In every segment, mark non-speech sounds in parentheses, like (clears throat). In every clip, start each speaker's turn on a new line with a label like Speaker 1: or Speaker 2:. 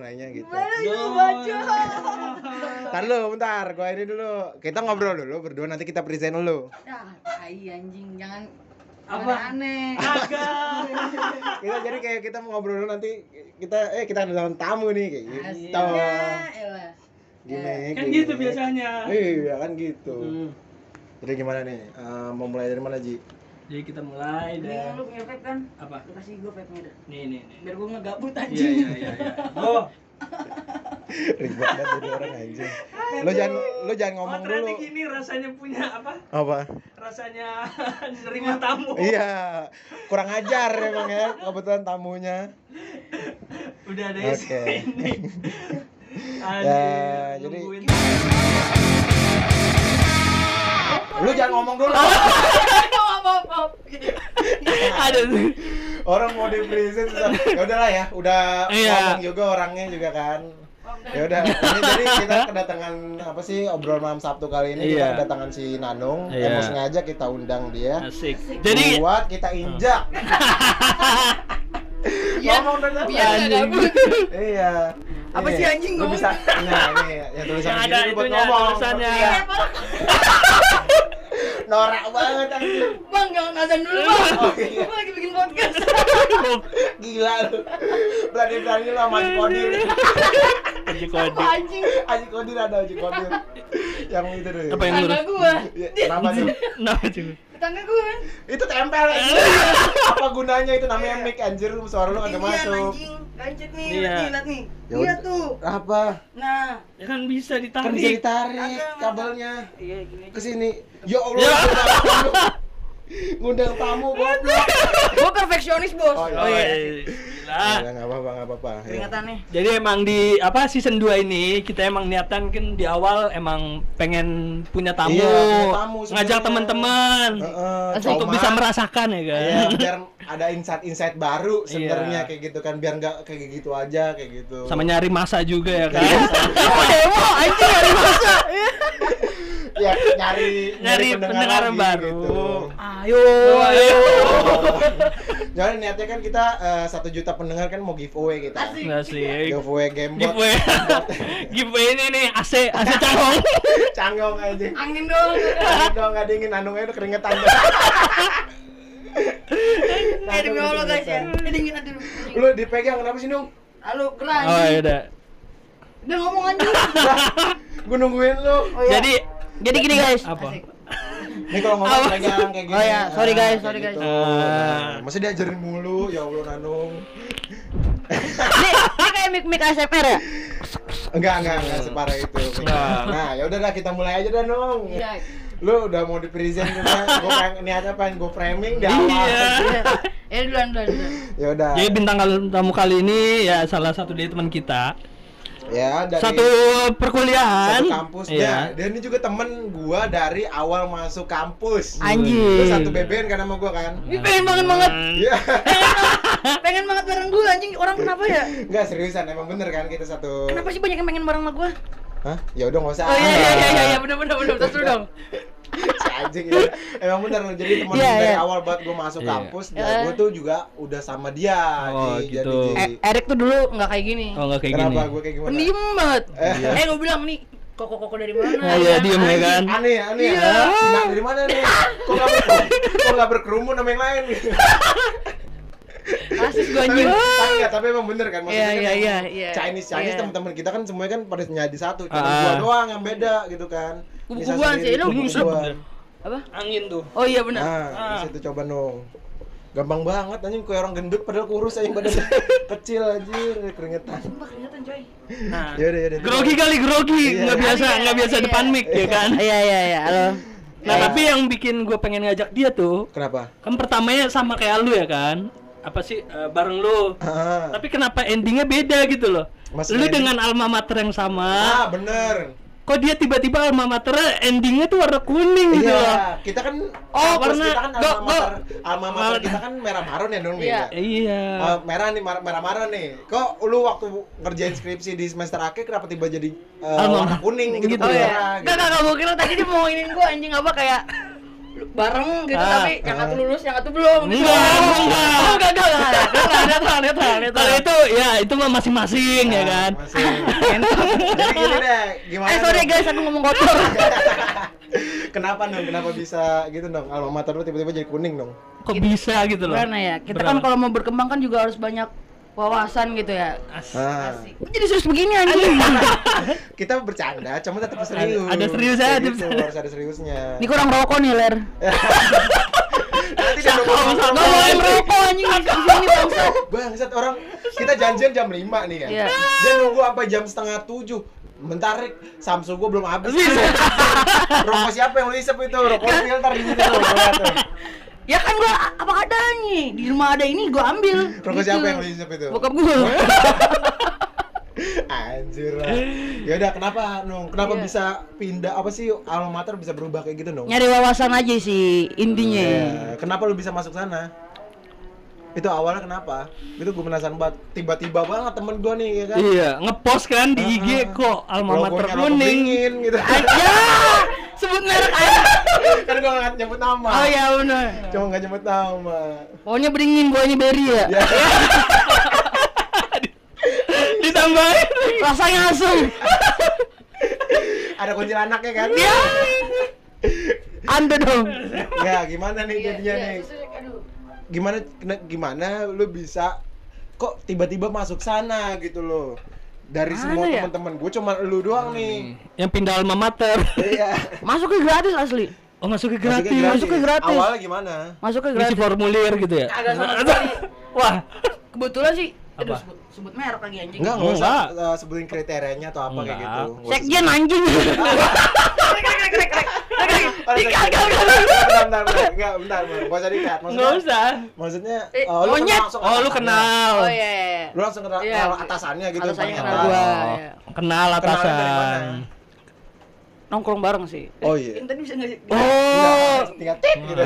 Speaker 1: nanya gitu
Speaker 2: Baru baca.
Speaker 1: Ntar lu, bentar, gua ini dulu Kita ngobrol dulu, berdua nanti kita present lu
Speaker 3: Dah, Ah, tai anjing, jangan
Speaker 2: Apa?
Speaker 3: aneh.
Speaker 2: Agak.
Speaker 1: Kita jadi kayak kita mau ngobrol dulu nanti Kita, eh kita kedatangan tamu nih, kayak gitu
Speaker 3: Ya, elah.
Speaker 1: Gimana ya,
Speaker 2: Kan
Speaker 1: kayak
Speaker 2: gitu
Speaker 1: gini.
Speaker 2: biasanya.
Speaker 1: Iya, kan gitu
Speaker 2: Hmm.
Speaker 1: Jadi gimana nih, Eh, mau mulai dari mana
Speaker 2: (laughs)
Speaker 1: Ji?
Speaker 2: Jadi kita mulai
Speaker 4: Iya.
Speaker 3: Ini
Speaker 2: dan
Speaker 3: lu punya vape kan?
Speaker 2: apa?
Speaker 3: Lu kasih gue vape-nya dah.
Speaker 2: Nih nih nih.
Speaker 3: Biar gue ngegabut
Speaker 2: Iya
Speaker 3: anjing.
Speaker 2: iya iya. iya. Oh,
Speaker 1: Ribet banget jadi orang anjing Lu jangan, lu jangan
Speaker 2: oh
Speaker 1: ngomong dulu
Speaker 2: ternyata gini rasanya punya apa?
Speaker 1: Apa?
Speaker 2: Rasanya (laughs) nerima tamu.
Speaker 1: Iya, kurang ajar emang ya kebetulan tamunya.
Speaker 2: Udah deh
Speaker 1: Oke.
Speaker 2: sini.
Speaker 1: Ya,
Speaker 2: Aduh,
Speaker 1: jadi-
Speaker 2: nungguin.
Speaker 1: Lu jangan ngomong
Speaker 4: (laughs)
Speaker 1: dulu.
Speaker 4: Ada tuh.
Speaker 1: Orang mau di present ya udahlah ya, udah
Speaker 4: Iya.
Speaker 1: ngomong juga orangnya juga kan. Ya udah, ini jadi kita kedatangan apa sih obrol malam Sabtu kali ini kita
Speaker 4: Iya.
Speaker 1: kedatangan si Nanung.
Speaker 4: Iya.
Speaker 1: Emang sengaja kita undang dia.
Speaker 4: Asik. Jadi
Speaker 1: buat kita
Speaker 4: (laughs)
Speaker 1: injak.
Speaker 3: Biar-
Speaker 1: ngomong dulu.
Speaker 3: Iya. biar nggak
Speaker 4: Anjing.
Speaker 3: gabut.
Speaker 1: Iya.
Speaker 3: Apa
Speaker 1: Ini.
Speaker 3: sih anjing
Speaker 1: Lu
Speaker 3: ngomong?
Speaker 1: bisa. Nah, ini yang tulisan
Speaker 4: Yang ada
Speaker 1: gini lu buat
Speaker 4: itunya,
Speaker 1: ngomong.
Speaker 4: tulisannya.
Speaker 1: Iya.
Speaker 3: Eh,
Speaker 1: Norak banget anjing.
Speaker 3: Bang, jangan azan dulu, Bang.
Speaker 1: Oh, iya.
Speaker 3: Gue lagi bikin podcast.
Speaker 1: Gila lu. Berani-berani lu sama Haji
Speaker 3: Iya,
Speaker 1: Kodir.
Speaker 4: Haji
Speaker 3: Apa
Speaker 4: Kodir.
Speaker 3: (laughs) anjing?
Speaker 1: Haji Kodir ada Haji Kodir. Yang itu deh.
Speaker 4: Apa yang
Speaker 3: Tetangga
Speaker 4: lurus?
Speaker 3: gue.
Speaker 1: Ya, Kenapa tuh?
Speaker 4: Kenapa tuh?
Speaker 3: Tetangga gue kan.
Speaker 1: Itu tempel anjing. Apa gunanya itu namanya mic anjir lu suara lu kagak
Speaker 3: Ketinggian,
Speaker 1: masuk.
Speaker 3: Iya. anjing. Lancet nih,
Speaker 4: Iya.
Speaker 3: lihat nih, lihat nih.
Speaker 1: Ya
Speaker 3: Iya
Speaker 1: udah.
Speaker 3: tuh.
Speaker 1: Apa?
Speaker 3: Nah,
Speaker 4: Ya kan bisa
Speaker 1: Kan bisa
Speaker 4: ditarik.
Speaker 1: ditarik
Speaker 3: Kagak,
Speaker 1: kabelnya
Speaker 3: iya gini aja.
Speaker 1: ke sini. Ya Allah. Ngundang tamu
Speaker 3: Iya
Speaker 1: goblok.
Speaker 3: Gue perfeksionis, Bos.
Speaker 1: Oh, iya.
Speaker 4: Oh, iya.
Speaker 1: Ya
Speaker 4: Gila.
Speaker 1: enggak apa-apa, enggak apa-apa. Ya.
Speaker 3: Keringatan nih.
Speaker 4: Jadi emang di apa season 2 ini kita emang niatan kan di awal emang pengen punya tamu,
Speaker 1: Iya, punya tamu
Speaker 4: ngajak
Speaker 1: sebenarnya.
Speaker 4: teman-teman
Speaker 1: Heeh,
Speaker 4: untuk
Speaker 1: Coman.
Speaker 4: bisa merasakan ya kan.
Speaker 1: Iya, biar ada insight-insight baru sebenarnya
Speaker 4: Iya.
Speaker 1: kayak gitu kan biar nggak kayak gitu aja kayak gitu.
Speaker 4: Sama nyari masa juga ya kan. Apa dewa anjing nyari masa.
Speaker 1: ya nyari Oh,
Speaker 4: Nyari pendengar
Speaker 1: lagi,
Speaker 4: baru.
Speaker 1: gitu.
Speaker 4: Ayo,
Speaker 1: iya.
Speaker 4: ayo.
Speaker 1: Jadi niatnya kan kita eh, satu juta pendengar kan mau giveaway kita.
Speaker 3: Asik.
Speaker 4: Asik.
Speaker 1: Giveaway gamebot.
Speaker 4: Giveaway. Giveaway ini nih AC AC cangong.
Speaker 1: (laughs) Canggong aja.
Speaker 3: Angin dong.
Speaker 1: Aduh, Udah nggak dingin anungnya udah keringetan. (laughs)
Speaker 3: Eh, demi Allah guys ya. Ini dingin aduh.
Speaker 1: Lu dipegang kenapa sih, Nung?
Speaker 3: Halo, gerak.
Speaker 4: Oh,
Speaker 3: anjing.
Speaker 4: ya udah.
Speaker 3: Udah ngomong anjing.
Speaker 1: Gue nungguin lu.
Speaker 3: Oh, iya.
Speaker 5: Jadi jadi gini guys.
Speaker 4: Apa?
Speaker 3: Asik.
Speaker 1: Ini kalau ngomong pegang kayak gini.
Speaker 5: Oh, iya. Sorry,
Speaker 1: Ah,
Speaker 5: guys,
Speaker 1: kayak
Speaker 5: sorry, guys.
Speaker 1: gitu.
Speaker 4: Ah.
Speaker 1: Nah, Masih diajarin mulu, ya Allah Nanung.
Speaker 5: Ini, ini kayak mik mik ASMR ya?
Speaker 1: Enggak, enggak, enggak separah itu.
Speaker 4: Nah.
Speaker 1: Nah, ya udahlah kita mulai aja dah, Nung.
Speaker 3: Iya.
Speaker 1: Lu udah mau di present kan? Gua pengen niat apa? Gua framing di awal.
Speaker 4: Iya.
Speaker 3: Ya duluan duluan. duluan.
Speaker 1: (laughs) Ya udah.
Speaker 4: Jadi bintang tamu kali ini ya salah satu dari teman kita.
Speaker 1: Ya, dari
Speaker 4: satu perkuliahan. Iya.
Speaker 1: satu kampus ya. Dan ini juga temen gua dari awal masuk kampus. Lu
Speaker 5: Anjir.
Speaker 1: satu BBN kan sama gua kan?
Speaker 3: Ih, pengen banget banget.
Speaker 1: Iya. (laughs)
Speaker 3: Pengen banget bareng gue anjing. Orang kenapa ya?
Speaker 1: Enggak seriusan emang bener kan kita satu.
Speaker 3: Kenapa sih banyak yang pengen bareng sama gue?
Speaker 1: Hah? Ya udah enggak usah.
Speaker 3: Oh iya iya iya iya iya benar benar benar. Terus lu dong.
Speaker 1: (laughs) si anjing ya. Emang bener loh, jadi temen
Speaker 5: Iya,
Speaker 1: dari
Speaker 5: iya.
Speaker 1: awal buat gua masuk
Speaker 4: Iya.
Speaker 1: kampus dan gua tuh juga udah sama dia.
Speaker 4: Oh,
Speaker 1: Ji. Ji.
Speaker 4: gitu.
Speaker 3: Eh,
Speaker 5: E- Erik tuh dulu nggak kayak gini.
Speaker 4: Oh nggak kayak
Speaker 1: Kenapa
Speaker 4: gini.
Speaker 1: gua kayak gimana?
Speaker 3: Pendiam banget.
Speaker 1: Iya.
Speaker 3: Eh, gue bilang nih koko-koko dari mana?
Speaker 4: Nah, iya diem ya kan.
Speaker 1: Aneh, aneh.
Speaker 3: Iya.
Speaker 1: Hah? Sinar dari mana nih? Kok nggak ber kok nggak berkerumun sama yang lain?
Speaker 3: Rasis gue
Speaker 1: tapi,
Speaker 3: anjing.
Speaker 1: tapi, nggak, tapi emang bener kan
Speaker 3: Iya
Speaker 1: maksudnya
Speaker 3: iya
Speaker 1: kan
Speaker 3: iya iya.
Speaker 1: Chinese Chinese
Speaker 3: Iya.
Speaker 1: teman-teman kita kan semuanya kan pada jadi satu, cuma
Speaker 4: Ah.
Speaker 1: gua doang yang beda gitu kan.
Speaker 3: Kubu-kubuan sih, lu
Speaker 4: buset.
Speaker 1: kubu-kubuan.
Speaker 3: Apa?
Speaker 4: Angin tuh.
Speaker 3: Oh iya benar.
Speaker 1: Nah, di situ coba dong. Gampang banget anjing kayak orang gendut padahal kurus aja
Speaker 3: (laughs)
Speaker 1: badannya kecil anjir keringetan.
Speaker 3: Sumpah kelihatan coy.
Speaker 4: Nah.
Speaker 1: Ya udah ya udah.
Speaker 4: Grogi kali grogi.
Speaker 1: Iya.
Speaker 4: Nggak biasa
Speaker 3: Iya,
Speaker 4: nggak biasa
Speaker 3: iya.
Speaker 4: depan mic ya kan.
Speaker 5: Iya iya iya. Halo.
Speaker 4: Nah tapi yang bikin gue pengen ngajak dia tuh
Speaker 1: Kenapa?
Speaker 4: kan pertamanya sama kayak lu ya kan. Apa sih eh, bareng lu.
Speaker 1: Ah,
Speaker 4: Tapi kenapa endingnya beda gitu loh.
Speaker 1: Maksudnya
Speaker 4: lu
Speaker 1: ending-
Speaker 4: dengan alma mater yang sama.
Speaker 1: ah bener.
Speaker 4: Kok dia tiba-tiba alma mater endingnya tuh warna kuning gitu loh.
Speaker 1: Iya, kita kan
Speaker 4: Oh,
Speaker 1: kampus
Speaker 4: warna-
Speaker 1: kita kan
Speaker 4: go-
Speaker 1: alma
Speaker 4: go.
Speaker 1: mater, alma mater
Speaker 4: Warna-
Speaker 1: kita kan merah marun ya dong nih.
Speaker 3: Iya.
Speaker 1: ya?
Speaker 4: Iya.
Speaker 1: Eh, merah nih mar- merah marun nih. Kok lu waktu ngerjain skripsi di semester akhir kenapa tiba jadi eh,
Speaker 4: Alma
Speaker 1: warna
Speaker 4: mater.
Speaker 1: kuning gitu,
Speaker 3: ya?
Speaker 4: Gitu.
Speaker 1: tuh,
Speaker 4: Oh, iya.
Speaker 1: merah,
Speaker 3: Enggak enggak gua kira tadi dia mau nginin gua anjing apa kayak
Speaker 6: bareng gitu
Speaker 4: Ah,
Speaker 6: tapi yang satu lulus yang satu belum gitu.
Speaker 4: Enggak, enggak.
Speaker 6: Oh, enggak enggak enggak enggak enggak enggak enggak enggak
Speaker 4: Kalau itu ya itu mah masing-masing
Speaker 1: Iya.
Speaker 4: ya kan.
Speaker 1: Nah, Masih. Jadi gini deh, gimana?
Speaker 3: Eh sorry
Speaker 1: dong?
Speaker 3: guys, aku ngomong kotor.
Speaker 1: Kenapa dong? Kenapa bisa gitu dong? Alma mater lu tiba-tiba jadi kuning dong.
Speaker 4: Kok bisa gitu loh.
Speaker 3: Karena ya, kita
Speaker 4: Beneran.
Speaker 3: kan kalau mau berkembang kan juga harus banyak wawasan gitu ya.
Speaker 1: Ah.
Speaker 3: Kok jadi serius begini anjing?
Speaker 1: Kita bercanda, cuma tetap serius.
Speaker 4: ada serius aja,
Speaker 1: Kayak gitu,
Speaker 4: serius.
Speaker 1: harus ada seriusnya.
Speaker 3: Ini kurang rokok nih, Ler.
Speaker 4: Eh.
Speaker 1: Nanti dia ngomong
Speaker 3: Gak boleh merokok anjing di sini bangsa.
Speaker 1: Bangsat orang kita janjian jam 5 nih ya.
Speaker 3: Iya.
Speaker 1: Dia nunggu sampai jam setengah 7. Bentar Rik, Samsung gua belum habis. (laughs) Rokok siapa yang lu isep itu? Rokok filter gitu tuh, gua liat tuh.
Speaker 3: Ya kan gua apa adanya. Di rumah ada ini gua ambil. Gitu.
Speaker 1: Rokok siapa yang lu isep itu?
Speaker 3: Bokap gua.
Speaker 1: (laughs) Anjir lah. Ya udah kenapa Nung? Kenapa
Speaker 3: Iya.
Speaker 1: bisa pindah apa sih alma mater bisa berubah kayak gitu Nung?
Speaker 3: Nyari wawasan aja sih intinya.
Speaker 1: Iya. Kenapa lu bisa masuk sana? Itu awalnya kenapa? Itu gue penasaran banget. Tiba-tiba banget temen gua nih ya kan.
Speaker 4: Iya, ngepost kan di IG kok alma
Speaker 1: Logonya
Speaker 4: mater
Speaker 1: rokok
Speaker 4: kuning.
Speaker 1: dingin gitu.
Speaker 3: Ya, sebut merek aja.
Speaker 1: (laughs)
Speaker 4: (laughs)
Speaker 1: kan gua nggak nyebut nama.
Speaker 3: Oh ya benar.
Speaker 1: Cuma nggak nyebut nama.
Speaker 3: Pokoknya beringin, pokoknya beri ya.
Speaker 1: Ya.
Speaker 4: (laughs) Ditambahin.
Speaker 3: Rasanya asem.
Speaker 1: (laughs) Ada kunci anaknya kan?
Speaker 3: Ya. Anda dong.
Speaker 1: Ya, gimana nih jadinya
Speaker 6: Iya,
Speaker 1: nih?
Speaker 6: justru, aduh.
Speaker 1: Gimana kena- gimana lu bisa kok tiba-tiba masuk sana gitu loh? Dari
Speaker 3: Mana
Speaker 1: semua
Speaker 3: ya?
Speaker 1: teman-teman gue cuma lu doang nih.
Speaker 4: Yang pindah alma mater.
Speaker 1: Iya.
Speaker 3: Masuk ke gratis asli.
Speaker 4: Oh, masuk ke
Speaker 1: Masuknya
Speaker 4: gratis.
Speaker 3: Masuknya gratis.
Speaker 1: Awalnya gimana?
Speaker 3: Masuk ke
Speaker 4: Isi
Speaker 3: gratis.
Speaker 4: formulir gitu ya.
Speaker 6: Kagak sama sekali.
Speaker 4: Wah.
Speaker 3: Kebetulan sih. Aduh,
Speaker 4: Apa?
Speaker 3: sebut, sebut merek lagi anjing.
Speaker 1: Enggak, enggak usah
Speaker 4: Enggak.
Speaker 1: eh, sebutin kriterianya atau apa kayak
Speaker 4: Enggak.
Speaker 1: gitu. Nggak usah
Speaker 3: Sekjen anjing.
Speaker 1: Oh,
Speaker 3: Dikat,
Speaker 1: bentar,
Speaker 3: dikat,
Speaker 1: bentar, bentar, bentar. Enggak, bentar, bentar. Gak usah dikat.
Speaker 4: Enggak
Speaker 1: Maksudnya,
Speaker 4: usah.
Speaker 1: maksudnya
Speaker 3: Eh,
Speaker 1: eh, lu
Speaker 3: monyet.
Speaker 1: kenal langsung
Speaker 4: Oh, lu
Speaker 1: atasannya.
Speaker 4: kenal.
Speaker 3: Oh iya. iya.
Speaker 1: Lu langsung kenal
Speaker 3: Iya.
Speaker 1: kenal atasannya gitu.
Speaker 3: Atasannya
Speaker 1: paling
Speaker 3: kenal
Speaker 1: atas.
Speaker 3: gua.
Speaker 4: Oh,
Speaker 3: iya.
Speaker 4: Kenal
Speaker 1: Kenalan dari mana?
Speaker 4: atasan.
Speaker 3: Nongkrong bareng sih.
Speaker 1: Oh iya.
Speaker 6: Intan bisa nggak sih?
Speaker 3: Eh.
Speaker 4: Oh,
Speaker 1: Enggak, tinggal tit
Speaker 3: Hmm. (laughs)
Speaker 1: gitu.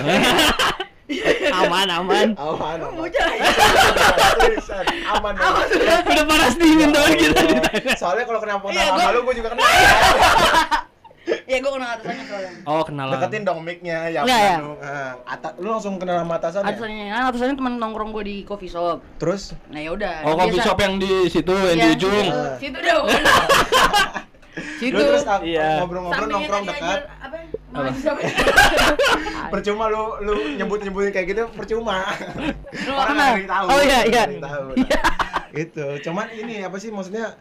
Speaker 4: aman
Speaker 1: (laughs)
Speaker 4: aman.
Speaker 1: Aman, aman.
Speaker 6: Bocah.
Speaker 1: Seriusan, aman. Aman.
Speaker 4: Udah panas dingin
Speaker 1: Iya.
Speaker 4: doang kita di tangan.
Speaker 1: Soalnya kalau kenapa
Speaker 6: Iya,
Speaker 1: kenal sama
Speaker 6: gua-
Speaker 1: lu, gua juga
Speaker 3: (laughs)
Speaker 1: kenal.
Speaker 6: Ya gue kenal atasannya soalnya.
Speaker 4: Oh, kenalan.
Speaker 1: Deketin dong mic-nya ya.
Speaker 3: Iya, iya.
Speaker 1: Manu. Eh, ata- lu langsung kenal sama atasannya.
Speaker 3: Atasannya, nah, atasannya teman nongkrong gua di coffee shop.
Speaker 1: Terus
Speaker 3: Nah ya udah.
Speaker 4: Oh, kopi
Speaker 3: biasa.
Speaker 4: shop yang di situ, yang di
Speaker 3: Iya,
Speaker 4: ujung.
Speaker 3: situ.
Speaker 1: Ah.
Speaker 3: Situ
Speaker 6: Itu
Speaker 3: dong.
Speaker 4: (laughs)
Speaker 6: dong.
Speaker 3: Situ.
Speaker 1: lu terus ah,
Speaker 4: Iya.
Speaker 1: ngobrol-ngobrol nongkrong dekat.
Speaker 6: Apa?
Speaker 4: Apa?
Speaker 1: Percuma lu lu nyebut-nyebutin kayak gitu percuma. Orang nggak ada
Speaker 3: kenal.
Speaker 1: yang tahu.
Speaker 3: Oh, iya,
Speaker 1: orang
Speaker 3: iya.
Speaker 1: nggak ada yang tahu. Gitu. Cuman ini apa sih maksudnya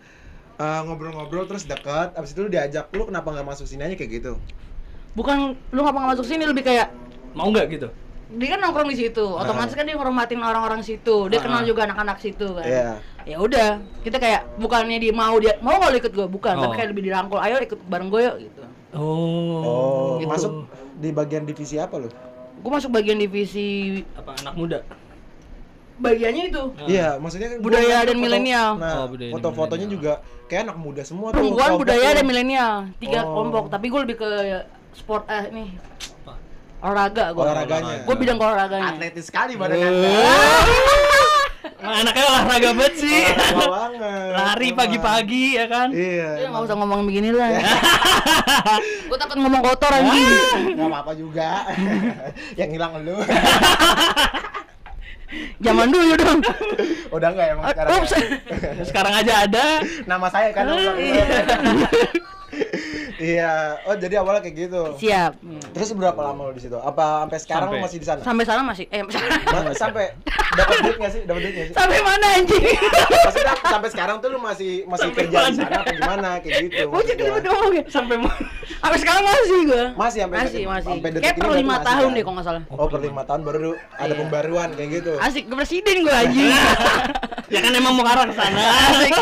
Speaker 1: eh, ngobrol-ngobrol terus dekat abis itu lu diajak lu kenapa nggak masuk sini aja kayak gitu
Speaker 3: (laughs) Bukan lu ngapa nggak masuk sini lebih kayak
Speaker 4: Mau nggak gitu?
Speaker 3: dia kan nongkrong di situ,
Speaker 4: Nah.
Speaker 3: otomatis kan dia ngormatin orang-orang situ, dia
Speaker 4: Ah.
Speaker 3: kenal juga anak-anak situ kan.
Speaker 1: Iya.
Speaker 3: Ya udah, kita kayak bukannya dia mau dia mau nggak lu ikut gue, bukan,
Speaker 4: Oh.
Speaker 3: tapi kayak lebih dirangkul, ayo ikut bareng gue yuk gitu.
Speaker 4: Oh.
Speaker 1: oh
Speaker 3: gitu.
Speaker 1: masuk di bagian divisi apa lu
Speaker 3: Gue masuk bagian divisi
Speaker 4: apa anak muda?
Speaker 3: bagiannya itu
Speaker 1: iya maksudnya kan gua
Speaker 3: Budaya
Speaker 1: ngeliat
Speaker 3: dan
Speaker 1: foto-
Speaker 3: milenial.
Speaker 1: nah
Speaker 4: Oh, budaya dan
Speaker 1: foto-fotonya juga kayak anak muda semua tuh,
Speaker 3: perempuan
Speaker 1: kelompok
Speaker 3: budaya
Speaker 1: tuh.
Speaker 3: dan milenial tiga
Speaker 1: Oh.
Speaker 3: kelompok, tapi gue lebih ke sport eh nih
Speaker 4: Apa?
Speaker 3: olahraga gue.
Speaker 1: olahraganya
Speaker 3: Gue bidang ke olahraganya.
Speaker 1: atletis sekali badan anda
Speaker 4: Anaknya olahraga banget sih.
Speaker 1: Olahraga banget
Speaker 4: Lari
Speaker 1: Emang.
Speaker 4: pagi-pagi ya kan?
Speaker 1: iya
Speaker 3: Udah, nggak
Speaker 1: emang.
Speaker 3: usah ngomong begini
Speaker 1: (laughs)
Speaker 3: lah. gue takut ngomong kotor anjing.
Speaker 1: nggak apa-apa juga (laughs) yang hilang lu (laughs)
Speaker 3: Zaman dulu dong.
Speaker 1: udah nggak emang sekarang ya?
Speaker 3: Ups.
Speaker 4: Sekarang aja ada.
Speaker 1: nama saya kan
Speaker 3: (laughs)
Speaker 1: ulang
Speaker 3: Iya.
Speaker 1: iya oh jadi awalnya kayak gitu
Speaker 3: Siap.
Speaker 1: terus berapa lama lu di situ apa sampai sekarang lu
Speaker 4: Sampai.
Speaker 1: masih di sana
Speaker 3: Sampai (laughs) sana masih eh
Speaker 1: Ma- sampai dapat duit nggak sih dapat duit nggak sih
Speaker 3: sampai mana anjing?
Speaker 1: Maksudnya sampai sekarang tuh lu masih masih
Speaker 4: Sampai
Speaker 1: kerja di
Speaker 4: mana?
Speaker 1: sana apa gimana kayak gitu
Speaker 3: Gue jadi
Speaker 1: maksudnya.
Speaker 3: ribet ngomong ya.
Speaker 4: Sampai mau.
Speaker 3: Sampai sekarang masih gue.
Speaker 1: masih sampai
Speaker 3: Masih, masih.
Speaker 1: sampai detik
Speaker 3: Kayak
Speaker 1: ini
Speaker 3: per
Speaker 1: berarti
Speaker 3: lima
Speaker 1: masih
Speaker 3: tahun
Speaker 1: kan?
Speaker 3: deh kalau nggak salah.
Speaker 1: oh per lima tahun baru ada
Speaker 3: Iya.
Speaker 1: pembaruan kayak gitu
Speaker 3: Asik, gue presiden gue
Speaker 1: (laughs)
Speaker 3: anjing.
Speaker 4: Ya kan emang mau ke arah ke sana.
Speaker 3: Asik.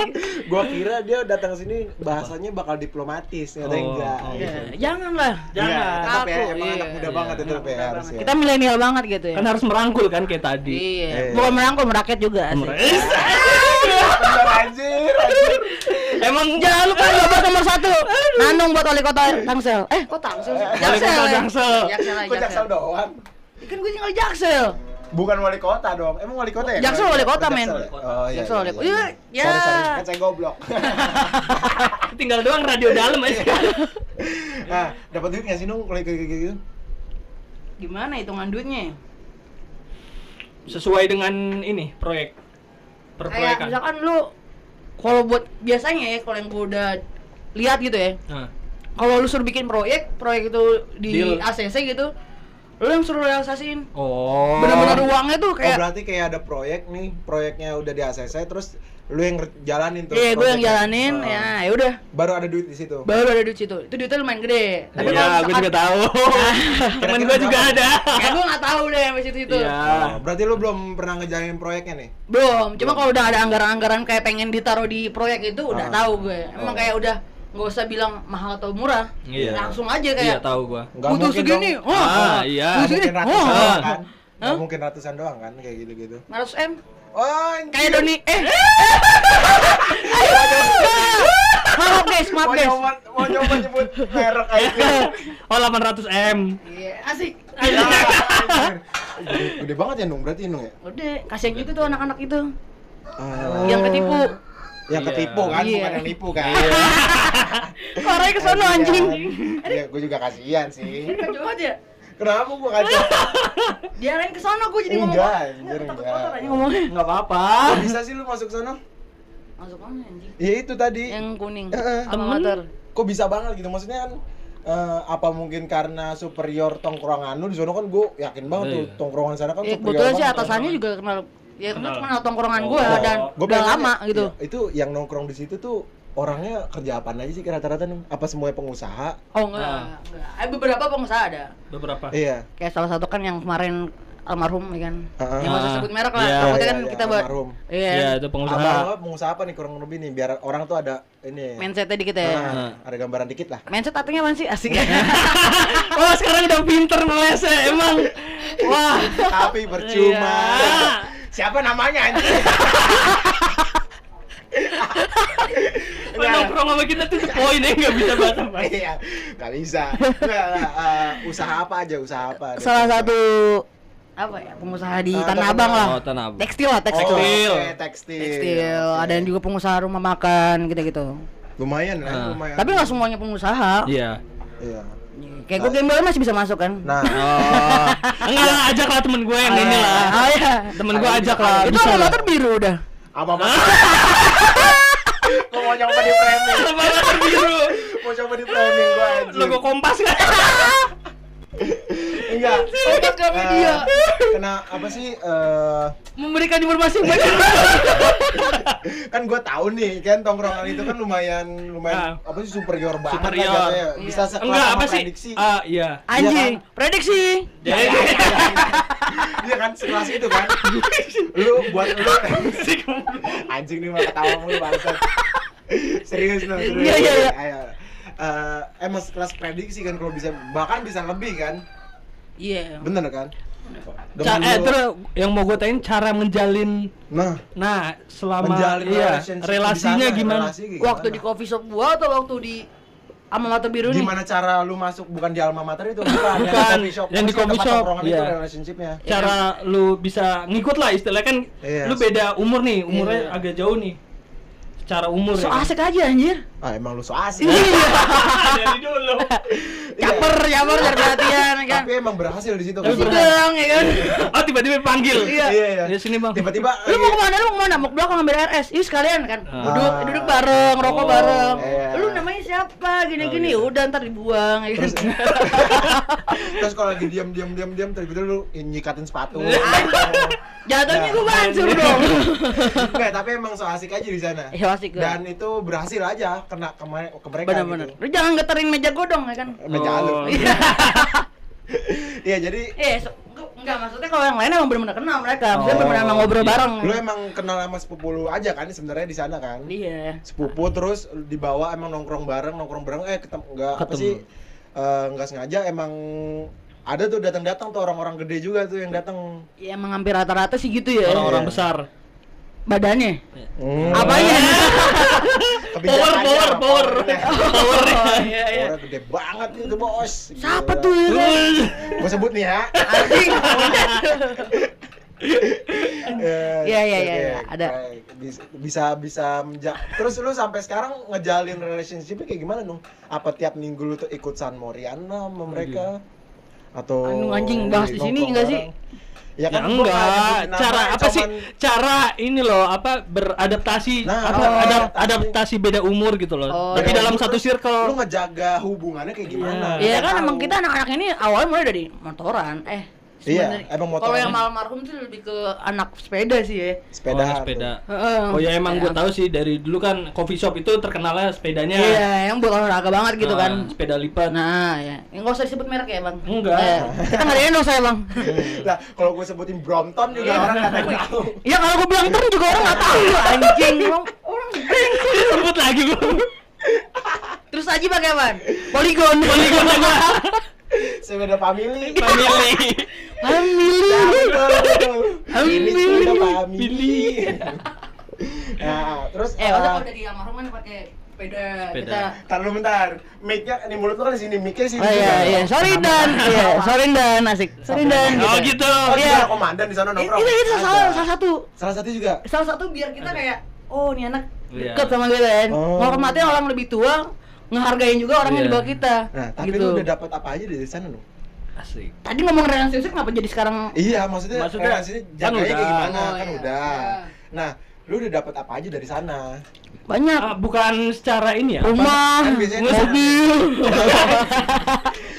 Speaker 1: gua kira dia datang sini bahasanya bakal diplomatis ternyata
Speaker 4: Oh,
Speaker 1: enggak
Speaker 4: oh.
Speaker 1: gitu.
Speaker 3: Ya, Jangan lah.
Speaker 1: Enggak,
Speaker 4: Jangan.
Speaker 1: tetap ya,
Speaker 3: Aku,
Speaker 1: emang
Speaker 3: iya.
Speaker 1: anak muda banget itu
Speaker 3: Muda
Speaker 1: ya harusnya.
Speaker 3: banget. Kita milenial banget gitu ya.
Speaker 4: Kan harus merangkul kan kayak tadi.
Speaker 3: Iya.
Speaker 1: Iya.
Speaker 3: Bukan merangkul merakyat juga. asik.
Speaker 4: Meres.
Speaker 1: Bener anjir, anjir.
Speaker 4: (laughs) Emang
Speaker 3: Jangan lupa jawaban nomor satu. Nanung buat wali kota Tangsel. Eh, kok Tangsel sih?
Speaker 4: Wali kota Jaksel.
Speaker 3: (laughs) Jaksel.
Speaker 1: Kok jaksel doang?
Speaker 3: Kan gue tinggal di Jaksel.
Speaker 1: Bukan wali kota dong. Emang wali kota ya?
Speaker 3: Jaksel wali kota, men.
Speaker 1: Jaksel ya? Oh iya.
Speaker 3: Jaksel wali kota.
Speaker 1: iya,
Speaker 3: Iya,
Speaker 1: iya. Sorry,
Speaker 3: ya.
Speaker 1: sorry. Kan saya goblok. (laughs)
Speaker 4: tinggal doang radio dalam aja.
Speaker 1: gitu? Nah, dapat duit nggak sih nung kalau kayak gitu?
Speaker 3: gimana hitungan duitnya?
Speaker 4: sesuai dengan ini proyek
Speaker 3: Kayak
Speaker 4: perproyekan.
Speaker 3: misalkan lu kalau buat biasanya ya kalau yang gua udah lihat gitu ya.
Speaker 4: Nah,
Speaker 3: Kalau lu suruh bikin proyek, proyek itu di
Speaker 4: Deal.
Speaker 3: ACC gitu, lu yang suruh realisasiin.
Speaker 4: Oh.
Speaker 3: Bener-bener uangnya tuh
Speaker 1: Oh,
Speaker 3: kayak
Speaker 1: berarti kayak ada proyek nih, proyeknya udah di ACC terus lu yang nger- jalanin
Speaker 4: gitu,
Speaker 1: tuh.
Speaker 3: Iya, gue yang
Speaker 1: proyeknya.
Speaker 3: jalanin,
Speaker 1: Oh.
Speaker 3: ya, ya udah.
Speaker 1: Baru ada duit di situ.
Speaker 3: Baru ada duit situ. Itu duitnya lumayan gede.
Speaker 4: Iya,
Speaker 3: Tapi kalau
Speaker 4: gue
Speaker 3: misalkan-
Speaker 4: juga
Speaker 3: (laughs)
Speaker 4: tahu. Temen
Speaker 1: Kira-kira
Speaker 4: gue juga
Speaker 1: berapa?
Speaker 4: ada.
Speaker 3: Ya gue nggak tahu deh sampai situ situ.
Speaker 4: Iya.
Speaker 1: Oh, berarti lu belum pernah ngejalanin proyeknya nih.
Speaker 3: Belum. Cuma kalau udah ada anggaran-anggaran kayak pengen ditaruh di proyek itu udah
Speaker 1: Ah.
Speaker 3: tahu gue. Emang
Speaker 1: Oh.
Speaker 3: kayak udah nggak usah bilang mahal atau murah.
Speaker 4: Iya.
Speaker 3: Langsung aja
Speaker 4: Iya,
Speaker 3: kayak Oh.
Speaker 4: tahu gue.
Speaker 1: Nggak
Speaker 3: butuh
Speaker 1: mungkin
Speaker 3: segini.
Speaker 1: dong.
Speaker 3: Wah,
Speaker 4: Ah, iya.
Speaker 3: butuh
Speaker 1: Nggak
Speaker 3: segini.
Speaker 1: mungkin ratusan
Speaker 3: Wah,
Speaker 1: doang kan. Nggak
Speaker 3: Hah?
Speaker 1: mungkin ratusan doang kan kayak gitu-gitu.
Speaker 3: 500 m.
Speaker 1: Oh,
Speaker 3: Kayak Doni. Eh. Maaf guys, maaf
Speaker 1: mau
Speaker 3: guys.
Speaker 1: nyoba mau nyoba nyebut merek aja.
Speaker 4: (laughs) Oh, 800 m.
Speaker 3: (laughs) Iya, asik.
Speaker 1: Ya, anjir. Gede, gede banget ya Nung, berarti Nung ya?
Speaker 3: Udah, kasihan gitu tuh anak-anak itu
Speaker 1: Ah,
Speaker 3: yang ketipu.
Speaker 1: yang ketipu kan,
Speaker 3: Iya.
Speaker 1: bukan yang nipu
Speaker 3: (laughs)
Speaker 1: kan?
Speaker 3: Orangnya ke sono
Speaker 1: Kasihan.
Speaker 3: anjing.
Speaker 1: Iya, gue juga kasihan sih.
Speaker 3: Kacau banget ya.
Speaker 1: Kenapa gue kacau?
Speaker 3: Dia lain ke sono gue jadi ngomong.
Speaker 1: Enggak, anjir,
Speaker 3: Kotor aja
Speaker 1: enggak.
Speaker 3: ngomongnya.
Speaker 4: Enggak apa-apa.
Speaker 1: Kok Bisa sih lu masuk sana?
Speaker 3: Masuk mana anjing?
Speaker 1: Ya itu tadi.
Speaker 3: Yang kuning.
Speaker 1: Heeh.
Speaker 3: Sama
Speaker 4: Temen.
Speaker 3: motor.
Speaker 1: Kok bisa banget gitu? Maksudnya kan eh, apa mungkin karena superior tongkrongan lu di sono kan gue yakin banget
Speaker 4: Iya.
Speaker 1: tuh tongkrongan sana kan
Speaker 3: Ya
Speaker 1: superior
Speaker 3: kebetulan sih
Speaker 1: banget.
Speaker 3: atasannya juga kenal ya kenal
Speaker 4: Kenal.
Speaker 3: cuma tongkrongan
Speaker 4: Oh.
Speaker 3: gua
Speaker 1: Nah,
Speaker 3: dan
Speaker 1: gua
Speaker 3: udah
Speaker 1: pengen
Speaker 3: lama
Speaker 1: nanya,
Speaker 3: gitu.
Speaker 1: iya, itu yang nongkrong di situ tuh orangnya kerja apa aja sih rata-rata Nung? Apa semuanya pengusaha?
Speaker 3: Oh enggak,
Speaker 4: Ah.
Speaker 3: enggak. Eh, beberapa pengusaha ada.
Speaker 4: Beberapa.
Speaker 1: Iya.
Speaker 3: Kayak salah satu kan yang kemarin almarhum ya kan.
Speaker 1: Heeh.
Speaker 3: Yang
Speaker 4: Ah.
Speaker 3: masa sebut merek lah.
Speaker 4: Iya,
Speaker 3: Takutnya
Speaker 1: iya,
Speaker 3: kan
Speaker 1: iya,
Speaker 3: kita buat
Speaker 1: almarhum.
Speaker 3: Iya.
Speaker 4: Iya, itu
Speaker 1: Apa
Speaker 4: pengusaha.
Speaker 1: pengusaha apa nih kurang lebih nih biar orang tuh ada ini.
Speaker 3: Mindsetnya dikit
Speaker 1: Ah,
Speaker 3: ya.
Speaker 1: ada gambaran dikit
Speaker 3: (laughs)
Speaker 1: lah.
Speaker 3: Mindset artinya apaan sih? Asik.
Speaker 4: Oh, sekarang udah pinter melese emang. Wah.
Speaker 1: Tapi percuma.
Speaker 4: Iya.
Speaker 1: Siapa namanya anjing?
Speaker 4: Kalau nongkrong sama kita tuh poin ya nggak bisa bahasa bahasa.
Speaker 1: Iya, nggak bisa. Nggak, nggak, eh, usaha apa aja, usaha apa? ada
Speaker 3: salah
Speaker 1: pengusaha.
Speaker 3: satu apa ya? Pengusaha di
Speaker 1: Ah,
Speaker 3: Tanah
Speaker 1: Tanah
Speaker 3: Abang lah.
Speaker 1: Abang.
Speaker 4: tanah abang.
Speaker 3: Tekstil lah, tekstil.
Speaker 1: Oh, iya, oke,
Speaker 4: Tekstil.
Speaker 1: tekstil.
Speaker 3: Tekstil,
Speaker 1: oke.
Speaker 3: ada yang juga pengusaha rumah makan gitu-gitu.
Speaker 1: Lumayan lah,
Speaker 4: Ah.
Speaker 1: lumayan.
Speaker 3: Tapi nggak semuanya pengusaha.
Speaker 4: Iya.
Speaker 1: Iya.
Speaker 3: Kayak gue gembel masih bisa masuk kan?
Speaker 1: Nah,
Speaker 4: (laughs) Oh. Enggak lah, ajak lah temen gue yang ini lah.
Speaker 3: (laughs) Oh iya.
Speaker 4: Temen gue ajak lah.
Speaker 3: Itu
Speaker 4: bisa
Speaker 3: sama
Speaker 4: lah.
Speaker 3: motor biru udah.
Speaker 1: apa (laughs) apa? Gua mau nyoba di framing,
Speaker 4: Sama motor biru.
Speaker 1: mau coba di framing gua anjing.
Speaker 4: Logo kompas kan.
Speaker 1: Enggak.
Speaker 3: Kompas Gramedia.
Speaker 1: Eh, Kena apa sih? eh,
Speaker 4: Memberikan informasi yang
Speaker 1: (laughs)
Speaker 4: banyak.
Speaker 1: Iya. kan gua tahu nih kan tongkrongan itu kan lumayan lumayan apa sih superior banget lah
Speaker 4: Ah. Superior. Iya.
Speaker 1: jatuhnya. bisa sekelas
Speaker 4: Enggak
Speaker 1: sama
Speaker 4: apa sih?
Speaker 1: prediksi
Speaker 4: Ah, iya.
Speaker 3: Anjing, prediksi.
Speaker 4: Jadi (laughs)
Speaker 1: Iya kan sekelas itu kan. lu buat lu
Speaker 4: (laughs)
Speaker 1: anjing nih mah ketawa mulu bangsat. serius lu, serius.
Speaker 3: Iya, iya, iya.
Speaker 1: Ayo. Eh, emang sekelas prediksi kan kalau bisa bahkan bisa lebih kan.
Speaker 3: Iya.
Speaker 1: Bener kan?
Speaker 4: Ca-
Speaker 1: Dengan
Speaker 4: eh,
Speaker 1: lu-
Speaker 4: terus yang mau gue tanyain cara ngejalin
Speaker 1: nah,
Speaker 4: Nah, selama
Speaker 1: menjalin
Speaker 4: iya,
Speaker 1: relationship di
Speaker 4: relasinya
Speaker 1: sana,
Speaker 4: gimana?
Speaker 1: relasinya kayak
Speaker 3: Waktu di
Speaker 1: gimana?
Speaker 3: coffee shop gua atau waktu di sama motor biru nih?
Speaker 1: gimana cara lu masuk bukan di alma mater itu bukan, yang
Speaker 4: Bukan.
Speaker 1: di coffee shop
Speaker 4: Yang di
Speaker 1: Maksudnya
Speaker 4: coffee
Speaker 1: tempat
Speaker 4: shop,
Speaker 1: tongkrongan itu
Speaker 4: iya.
Speaker 1: relationshipnya
Speaker 4: Cara lu bisa ngikut lah istilahnya kan
Speaker 1: Iya.
Speaker 4: lu beda umur nih, umurnya
Speaker 3: Iya.
Speaker 4: agak jauh nih. Secara umur ya
Speaker 3: So
Speaker 4: kan? (laughs)
Speaker 3: asik aja anjir. Iya.
Speaker 1: ah emang lu so asik
Speaker 4: dari
Speaker 3: (laughs)
Speaker 4: dulu.
Speaker 3: Caper, caper cari perhatian ya kan.
Speaker 1: Iya, tapi emang Iya. berhasil di situ kan?
Speaker 3: Kasih dong ya kan.
Speaker 4: Oh, tiba-tiba panggil.
Speaker 1: iya iya
Speaker 4: Di sini, Bang.
Speaker 1: tiba-tiba iya.
Speaker 3: Lu mau kemana? Lu mau kemana? Mau ke belakang ambil RS. Ih sekalian kan.
Speaker 4: Ah.
Speaker 3: Duduk, duduk bareng, rokok
Speaker 4: Oh,
Speaker 3: bareng.
Speaker 1: iya.
Speaker 3: Lu namanya siapa? Gini-gini.
Speaker 4: Oh, gitu.
Speaker 3: Udah ntar dibuang ya
Speaker 1: terus
Speaker 3: kan.
Speaker 1: terus kalau lagi diam diam diam diam tiba-tiba lu nyikatin sepatu
Speaker 3: (laughs)
Speaker 1: Nah.
Speaker 3: Jatuhnya gua bansur
Speaker 1: (laughs)
Speaker 3: dong.
Speaker 1: enggak tapi emang so asik aja di sana
Speaker 4: Iya,
Speaker 3: Ya asik gua.
Speaker 1: dan itu berhasil aja kena ke, ma- ke mereka
Speaker 3: Bener-bener.
Speaker 1: gitu.
Speaker 3: Lu jangan geterin meja gua dong ya kan.
Speaker 1: Meja
Speaker 4: Oh.
Speaker 1: lu.
Speaker 4: (laughs) Iya.
Speaker 1: iya jadi
Speaker 3: Eh, so, enggak, enggak maksudnya kalau yang lain emang benar-benar kenal mereka, maksudnya
Speaker 4: Oh,
Speaker 3: benar-benar emang ngobrol
Speaker 4: iya.
Speaker 3: bareng.
Speaker 1: lu emang kenal sama sepupu lu aja kan sebenarnya di sana kan
Speaker 3: Iya.
Speaker 1: sepupu terus dibawa emang nongkrong bareng nongkrong bareng eh ketemu nggak apa
Speaker 4: Ketemu.
Speaker 1: sih eh, nggak sengaja emang ada tuh datang-datang tuh orang-orang gede juga tuh yang datang
Speaker 3: Ya emang hampir rata-rata sih gitu ya.
Speaker 4: Orang-orang
Speaker 1: Iya.
Speaker 4: besar.
Speaker 3: Badannya.
Speaker 1: Hmm,
Speaker 3: Apanya?
Speaker 4: Power,
Speaker 1: kebijakannya,
Speaker 4: power, power.
Speaker 1: powernya.
Speaker 4: (laughs) Power.
Speaker 3: iya
Speaker 1: Powernya gede banget itu bos
Speaker 3: Siapa tuh ya? kan?
Speaker 1: gue sebut nih
Speaker 3: (laughs)
Speaker 1: ya
Speaker 3: Anjing.
Speaker 1: Eh,
Speaker 3: Iya, iya,
Speaker 1: oke,
Speaker 3: iya, iya, ada.
Speaker 1: baik. Bis- bisa bisa menja- terus lu sampai sekarang ngejalin relationship kayak gimana dong apa tiap minggu lu tuh ikut San Moriana sama mereka atau
Speaker 3: Anu, anjing, bahas di sini
Speaker 1: nongkrong
Speaker 3: enggak sih?
Speaker 1: bareng. Ya
Speaker 4: Ya
Speaker 1: kan gua nggak
Speaker 4: enggak,
Speaker 1: nyebutin
Speaker 4: cara
Speaker 1: nama,
Speaker 4: apa sih?
Speaker 1: cuman-
Speaker 4: Cara ini loh, apa beradaptasi,
Speaker 1: Nah, oh,
Speaker 4: apa adap-
Speaker 1: adaptasi.
Speaker 4: adaptasi beda umur gitu loh.
Speaker 3: Oh,
Speaker 4: Tapi
Speaker 3: iya.
Speaker 4: dalam satu
Speaker 1: lu
Speaker 4: circle.
Speaker 1: ngejaga hubungannya kayak gimana?
Speaker 4: Iya.
Speaker 3: Iya
Speaker 1: Nggak
Speaker 3: kan
Speaker 1: tahu.
Speaker 3: emang kita anak-anak ini awalnya mulai dari motoran. Eh
Speaker 1: Iya, emang
Speaker 3: sebenarnya- Kalau
Speaker 1: motoran.
Speaker 3: yang almarhum tuh lebih ke anak sepeda sih ya.
Speaker 1: sepeda.
Speaker 4: Oh, sepeda.
Speaker 3: Heeh.
Speaker 4: Oh ya emang gue
Speaker 3: Kayak-
Speaker 4: tahu ya. sih dari dulu kan coffee shop itu terkenalnya sepedanya.
Speaker 3: Iya, yang buat olahraga banget gitu
Speaker 4: Nah,
Speaker 3: kan.
Speaker 4: Sepeda lipat. (laughs)
Speaker 3: Nah, ya. Yang nggak usah disebut merek ya, Bang.
Speaker 4: Enggak.
Speaker 3: Eh, kita nggak ada yang dosa ya, Bang.
Speaker 1: (laughs) (laughs) Lah, kalau gue sebutin Brompton
Speaker 3: Iya.
Speaker 1: juga orang nggak ada yang tahu.
Speaker 3: Ya kalau gue bilang terus juga orang nggak tahu anjing. Orang, orang
Speaker 4: Sebut lagi gue.
Speaker 3: terus aja pakai apa? Poligon.
Speaker 4: Poligon apa?
Speaker 1: Sepeda family.
Speaker 4: Family.
Speaker 3: Family.
Speaker 1: Nah, betul, betul. Ini
Speaker 3: Family.
Speaker 1: sepeda family. (laughs) Nah, terus
Speaker 3: Eh, waktu
Speaker 1: eh,
Speaker 3: kalau dari almarhum kan pakai sepeda,
Speaker 4: Sepeda.
Speaker 3: kita
Speaker 1: Taruh lu bentar. Mic-nya di mulut lu kan di sini, mic-nya di sini.
Speaker 5: Oh iya iya, sorry Dan. Iya, sorry Dan, asik. Sorry Dan.
Speaker 4: Oh gitu.
Speaker 1: Oh,
Speaker 5: Iya.
Speaker 1: iya, komandan di sana
Speaker 3: Eh,
Speaker 1: nongkrong.
Speaker 3: itu itu salah,
Speaker 1: Ada.
Speaker 3: salah satu
Speaker 1: Salah satu juga.
Speaker 3: salah satu biar kita kayak oh ini anak
Speaker 4: Iya.
Speaker 3: dekat sama gue kan.
Speaker 1: Oh.
Speaker 3: Menghormatin orang lebih tua, ngehargain juga orang yang
Speaker 4: Iya.
Speaker 3: di bawah kita.
Speaker 1: Nah, tapi
Speaker 3: Gitu.
Speaker 1: lu udah dapat apa aja dari sana lu?
Speaker 4: Asik.
Speaker 3: Tadi ngomong relationship kenapa jadi sekarang
Speaker 1: Iya, maksudnya,
Speaker 4: Maksudnya,
Speaker 1: relasinya
Speaker 4: kan
Speaker 1: jaganya kayak
Speaker 4: udah.
Speaker 1: gimana?
Speaker 3: Oh,
Speaker 1: kan
Speaker 3: iya,
Speaker 1: udah.
Speaker 3: udah.
Speaker 1: Nah, lu udah dapat apa aja dari sana?
Speaker 3: banyak
Speaker 4: Ah, bukan secara ini ya.
Speaker 3: Oh.
Speaker 5: Rumah,
Speaker 1: Kan biasanya- (laughs)
Speaker 5: mobil.
Speaker 4: Gitu,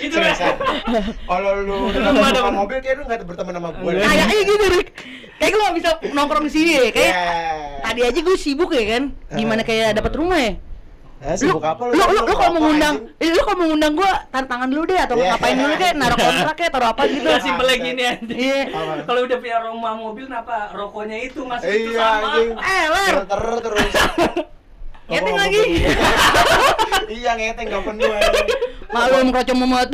Speaker 2: Itu
Speaker 1: Seriusan.
Speaker 2: lah.
Speaker 4: (laughs)
Speaker 1: Kalau lu udah
Speaker 4: Rumah
Speaker 1: dapat
Speaker 4: dong.
Speaker 1: mobil kayak lu enggak berteman sama gue.
Speaker 4: Enggak.
Speaker 3: kayaknya gitu Rick kayak gue gak bisa nongkrong di sini ya
Speaker 1: Iya.
Speaker 3: kayak tadi aja gue sibuk ya kan gimana kayak dapat rumah ya
Speaker 1: Nah, Eh. sibuk apa lu?
Speaker 3: lu lu, lu kalau
Speaker 1: ngerokok,
Speaker 3: mengundang
Speaker 1: anjing?
Speaker 3: eh, lu kalau mengundang gue tantangan dulu deh atau
Speaker 1: Iya.
Speaker 3: ngapain dulu kayak naruh kontrak kayak taruh apa gitu
Speaker 4: Enggak simpelnya gini aja.
Speaker 3: iya
Speaker 1: Apa?
Speaker 4: Kalau udah punya rumah mobil kenapa rokoknya itu masuk itu
Speaker 1: Iya,
Speaker 4: sama?
Speaker 1: anjing.
Speaker 3: eh ler
Speaker 1: Ter terus.
Speaker 3: (laughs) Ngeteng
Speaker 1: Ngomong-ngomong
Speaker 3: lagi.
Speaker 1: dulu.
Speaker 3: (laughs)
Speaker 1: Iya, ngeteng enggak penuh. anjing.
Speaker 3: maklum kerocong memot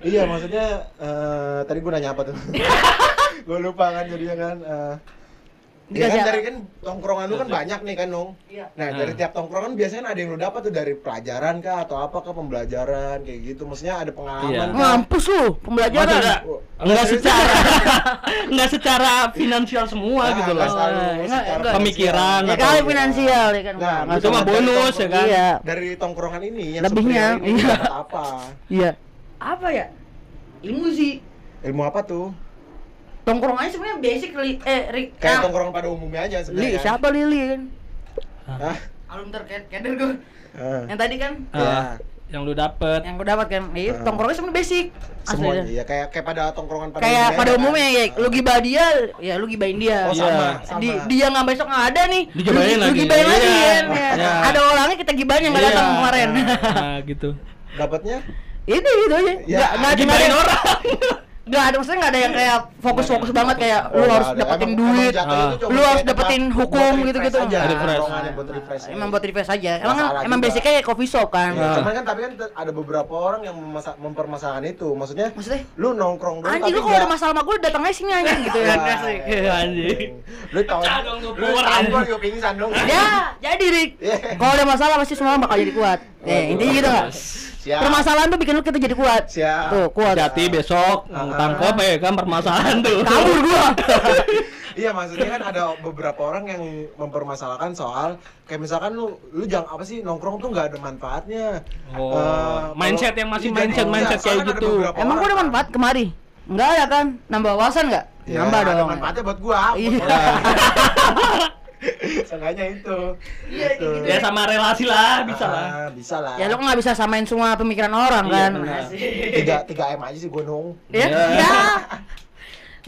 Speaker 1: Iya, maksudnya eh, tadi gue nanya apa
Speaker 3: (laughs)
Speaker 1: tuh? gue lupa kan jadinya kan eh, Ya kan
Speaker 3: Dikasih apa? Iya.
Speaker 1: dari kan tongkrongan lu kan banyak nih kan Nung Nah dari
Speaker 4: Ah.
Speaker 1: tiap tongkrongan biasanya ada yang lu dapat tuh dari pelajaran kah atau apa kah pembelajaran kayak gitu Maksudnya ada
Speaker 4: Iya.
Speaker 1: pengalaman kah?
Speaker 3: ngampus lu
Speaker 4: Masa enggak?
Speaker 3: pembelajaran
Speaker 4: Enggak secara (laughs) enggak secara finansial semua
Speaker 1: Ah,
Speaker 4: gitu
Speaker 1: nggak
Speaker 4: loh.
Speaker 1: selalu
Speaker 3: Enggak,
Speaker 1: secara
Speaker 3: enggak.
Speaker 1: finansial.
Speaker 4: Pemikiran
Speaker 5: Ya
Speaker 4: atau
Speaker 5: kali
Speaker 4: gimana?
Speaker 5: finansial ya kan.
Speaker 1: Nah,
Speaker 5: Nggak
Speaker 4: itu mah
Speaker 1: misalkan dari
Speaker 4: bonus,
Speaker 1: tongkrong-
Speaker 4: ya kan?
Speaker 5: Iya.
Speaker 1: Dari tongkrongan ini yang
Speaker 5: Lebihnya,
Speaker 1: sebelumnya ini lu
Speaker 5: iya.
Speaker 1: dapat apa?
Speaker 5: Iya.
Speaker 3: apa ya ilmu sih
Speaker 1: Ilmu apa tuh?
Speaker 3: tongkrongannya sebenarnya basic li, eh Rick
Speaker 1: Kayak
Speaker 3: nah,
Speaker 1: tongkrongan pada umumnya aja
Speaker 5: Li,
Speaker 1: sebenarnya. kan?
Speaker 5: siapa Lili kan?
Speaker 1: Hah?
Speaker 3: alum terkeder gue
Speaker 1: Ah.
Speaker 3: yang tadi kan
Speaker 4: Ah,
Speaker 1: Iya.
Speaker 4: yang lu dapet
Speaker 3: yang gue dapat kan iya
Speaker 1: Ah.
Speaker 3: tongkrongnya sebenarnya basic asli
Speaker 1: Semua
Speaker 3: dah.
Speaker 1: iya kayak kayak pada tongkrongan pada
Speaker 3: kayak pada
Speaker 1: kan?
Speaker 3: umumnya ya
Speaker 1: Ah.
Speaker 3: lu gibah dia ya lu gibahin dia
Speaker 1: Oh,
Speaker 4: Iya.
Speaker 1: sama,
Speaker 3: di,
Speaker 1: sama.
Speaker 3: dia nggak besok nggak ada nih lu-
Speaker 4: Digibahin
Speaker 3: lu
Speaker 4: lagi.
Speaker 3: gibahin lagi
Speaker 4: Iya.
Speaker 3: kan, ya.
Speaker 4: Iya.
Speaker 3: ada orangnya kita gibahin yang nggak
Speaker 4: Iya.
Speaker 3: datang kemarin
Speaker 4: nah, gitu.
Speaker 1: Dapatnya?
Speaker 3: (laughs) itu gitu aja
Speaker 1: Ya,
Speaker 3: nggak nggak ada
Speaker 4: Gibahin
Speaker 3: nggak ada-
Speaker 4: orang.
Speaker 3: (laughs) nggak ada maksudnya nggak ada yang kayak fokus fokus banget kayak lu
Speaker 1: nggak
Speaker 3: harus
Speaker 1: Iya. ada.
Speaker 3: dapetin
Speaker 1: Emang-
Speaker 3: duit
Speaker 1: emang jatuhnya
Speaker 4: Ah.
Speaker 1: itu cuma
Speaker 3: Lu harus
Speaker 1: kayak tempat
Speaker 3: dapetin
Speaker 1: buat
Speaker 3: hukum
Speaker 1: refresh
Speaker 3: gitu-gitu.
Speaker 1: aja,
Speaker 4: Refresh.
Speaker 1: tongkrongannya buat refresh aja.
Speaker 3: emang buat refresh aja emang
Speaker 1: Masalah
Speaker 3: emang
Speaker 1: juga.
Speaker 3: basicnya kayak coffee shop kan
Speaker 1: Ya,
Speaker 4: Ah.
Speaker 1: cuman kan tapi kan te- ada beberapa orang yang memasa- mempermasalahkan itu. Maksudnya
Speaker 3: maksudnya
Speaker 1: lu nongkrong dulu
Speaker 3: anjing
Speaker 1: tapi
Speaker 3: lu kalau ada
Speaker 1: nggak-
Speaker 3: masalah sama gue datangnya sini aja
Speaker 1: (laughs)
Speaker 3: gitu
Speaker 1: Wah,
Speaker 3: kan
Speaker 4: Iya, anjing.
Speaker 1: Lu tau
Speaker 4: Pecah dong tuh
Speaker 1: lu
Speaker 4: power
Speaker 1: tampol
Speaker 4: anjing.
Speaker 1: yuk pingsan dong.
Speaker 3: ya jadi Rick
Speaker 1: Iya.
Speaker 3: kalau ada masalah pasti semua orang bakal jadi kuat
Speaker 1: Waduh.
Speaker 3: eh intinya gitu nggak
Speaker 1: Siap.
Speaker 3: permasalahan tuh bikin lu kita jadi kuat
Speaker 1: Siap.
Speaker 3: tuh kuat
Speaker 4: Hati besok
Speaker 1: Ah.
Speaker 4: tangkap ya kan permasalahan tuh.
Speaker 3: kabur
Speaker 1: (laughs)
Speaker 3: gua
Speaker 1: Iya maksudnya kan ada beberapa orang yang mempermasalahkan soal kayak misalkan lu lu jangan apa sih nongkrong tuh nggak ada manfaatnya.
Speaker 4: Oh,
Speaker 1: Eh,
Speaker 4: mindset
Speaker 1: kalau-
Speaker 4: yang masih
Speaker 1: Iya,
Speaker 4: mindset-
Speaker 1: iya,
Speaker 4: mindset
Speaker 1: soalnya kan
Speaker 4: kayak
Speaker 1: ada
Speaker 4: gitu.
Speaker 1: beberapa
Speaker 3: emang gua
Speaker 1: orang
Speaker 3: ada
Speaker 1: kan.
Speaker 3: manfaat kemari enggak ya kan nambah wawasan nggak
Speaker 1: Ya,
Speaker 3: nambah
Speaker 1: ada
Speaker 3: dong
Speaker 1: manfaatnya buat gua.
Speaker 3: Iya.
Speaker 1: (laughs) buat orang. Seenggaknya itu. Iya gitu.
Speaker 4: Ya sama relasi lah, bisa lah.
Speaker 1: Ah, bisa lah.
Speaker 3: ya lu nggak bisa samain semua pemikiran orang
Speaker 4: Iya,
Speaker 3: kan
Speaker 4: benar.
Speaker 1: tiga tiga m aja sih gunung
Speaker 3: ya
Speaker 4: Iya.
Speaker 3: ya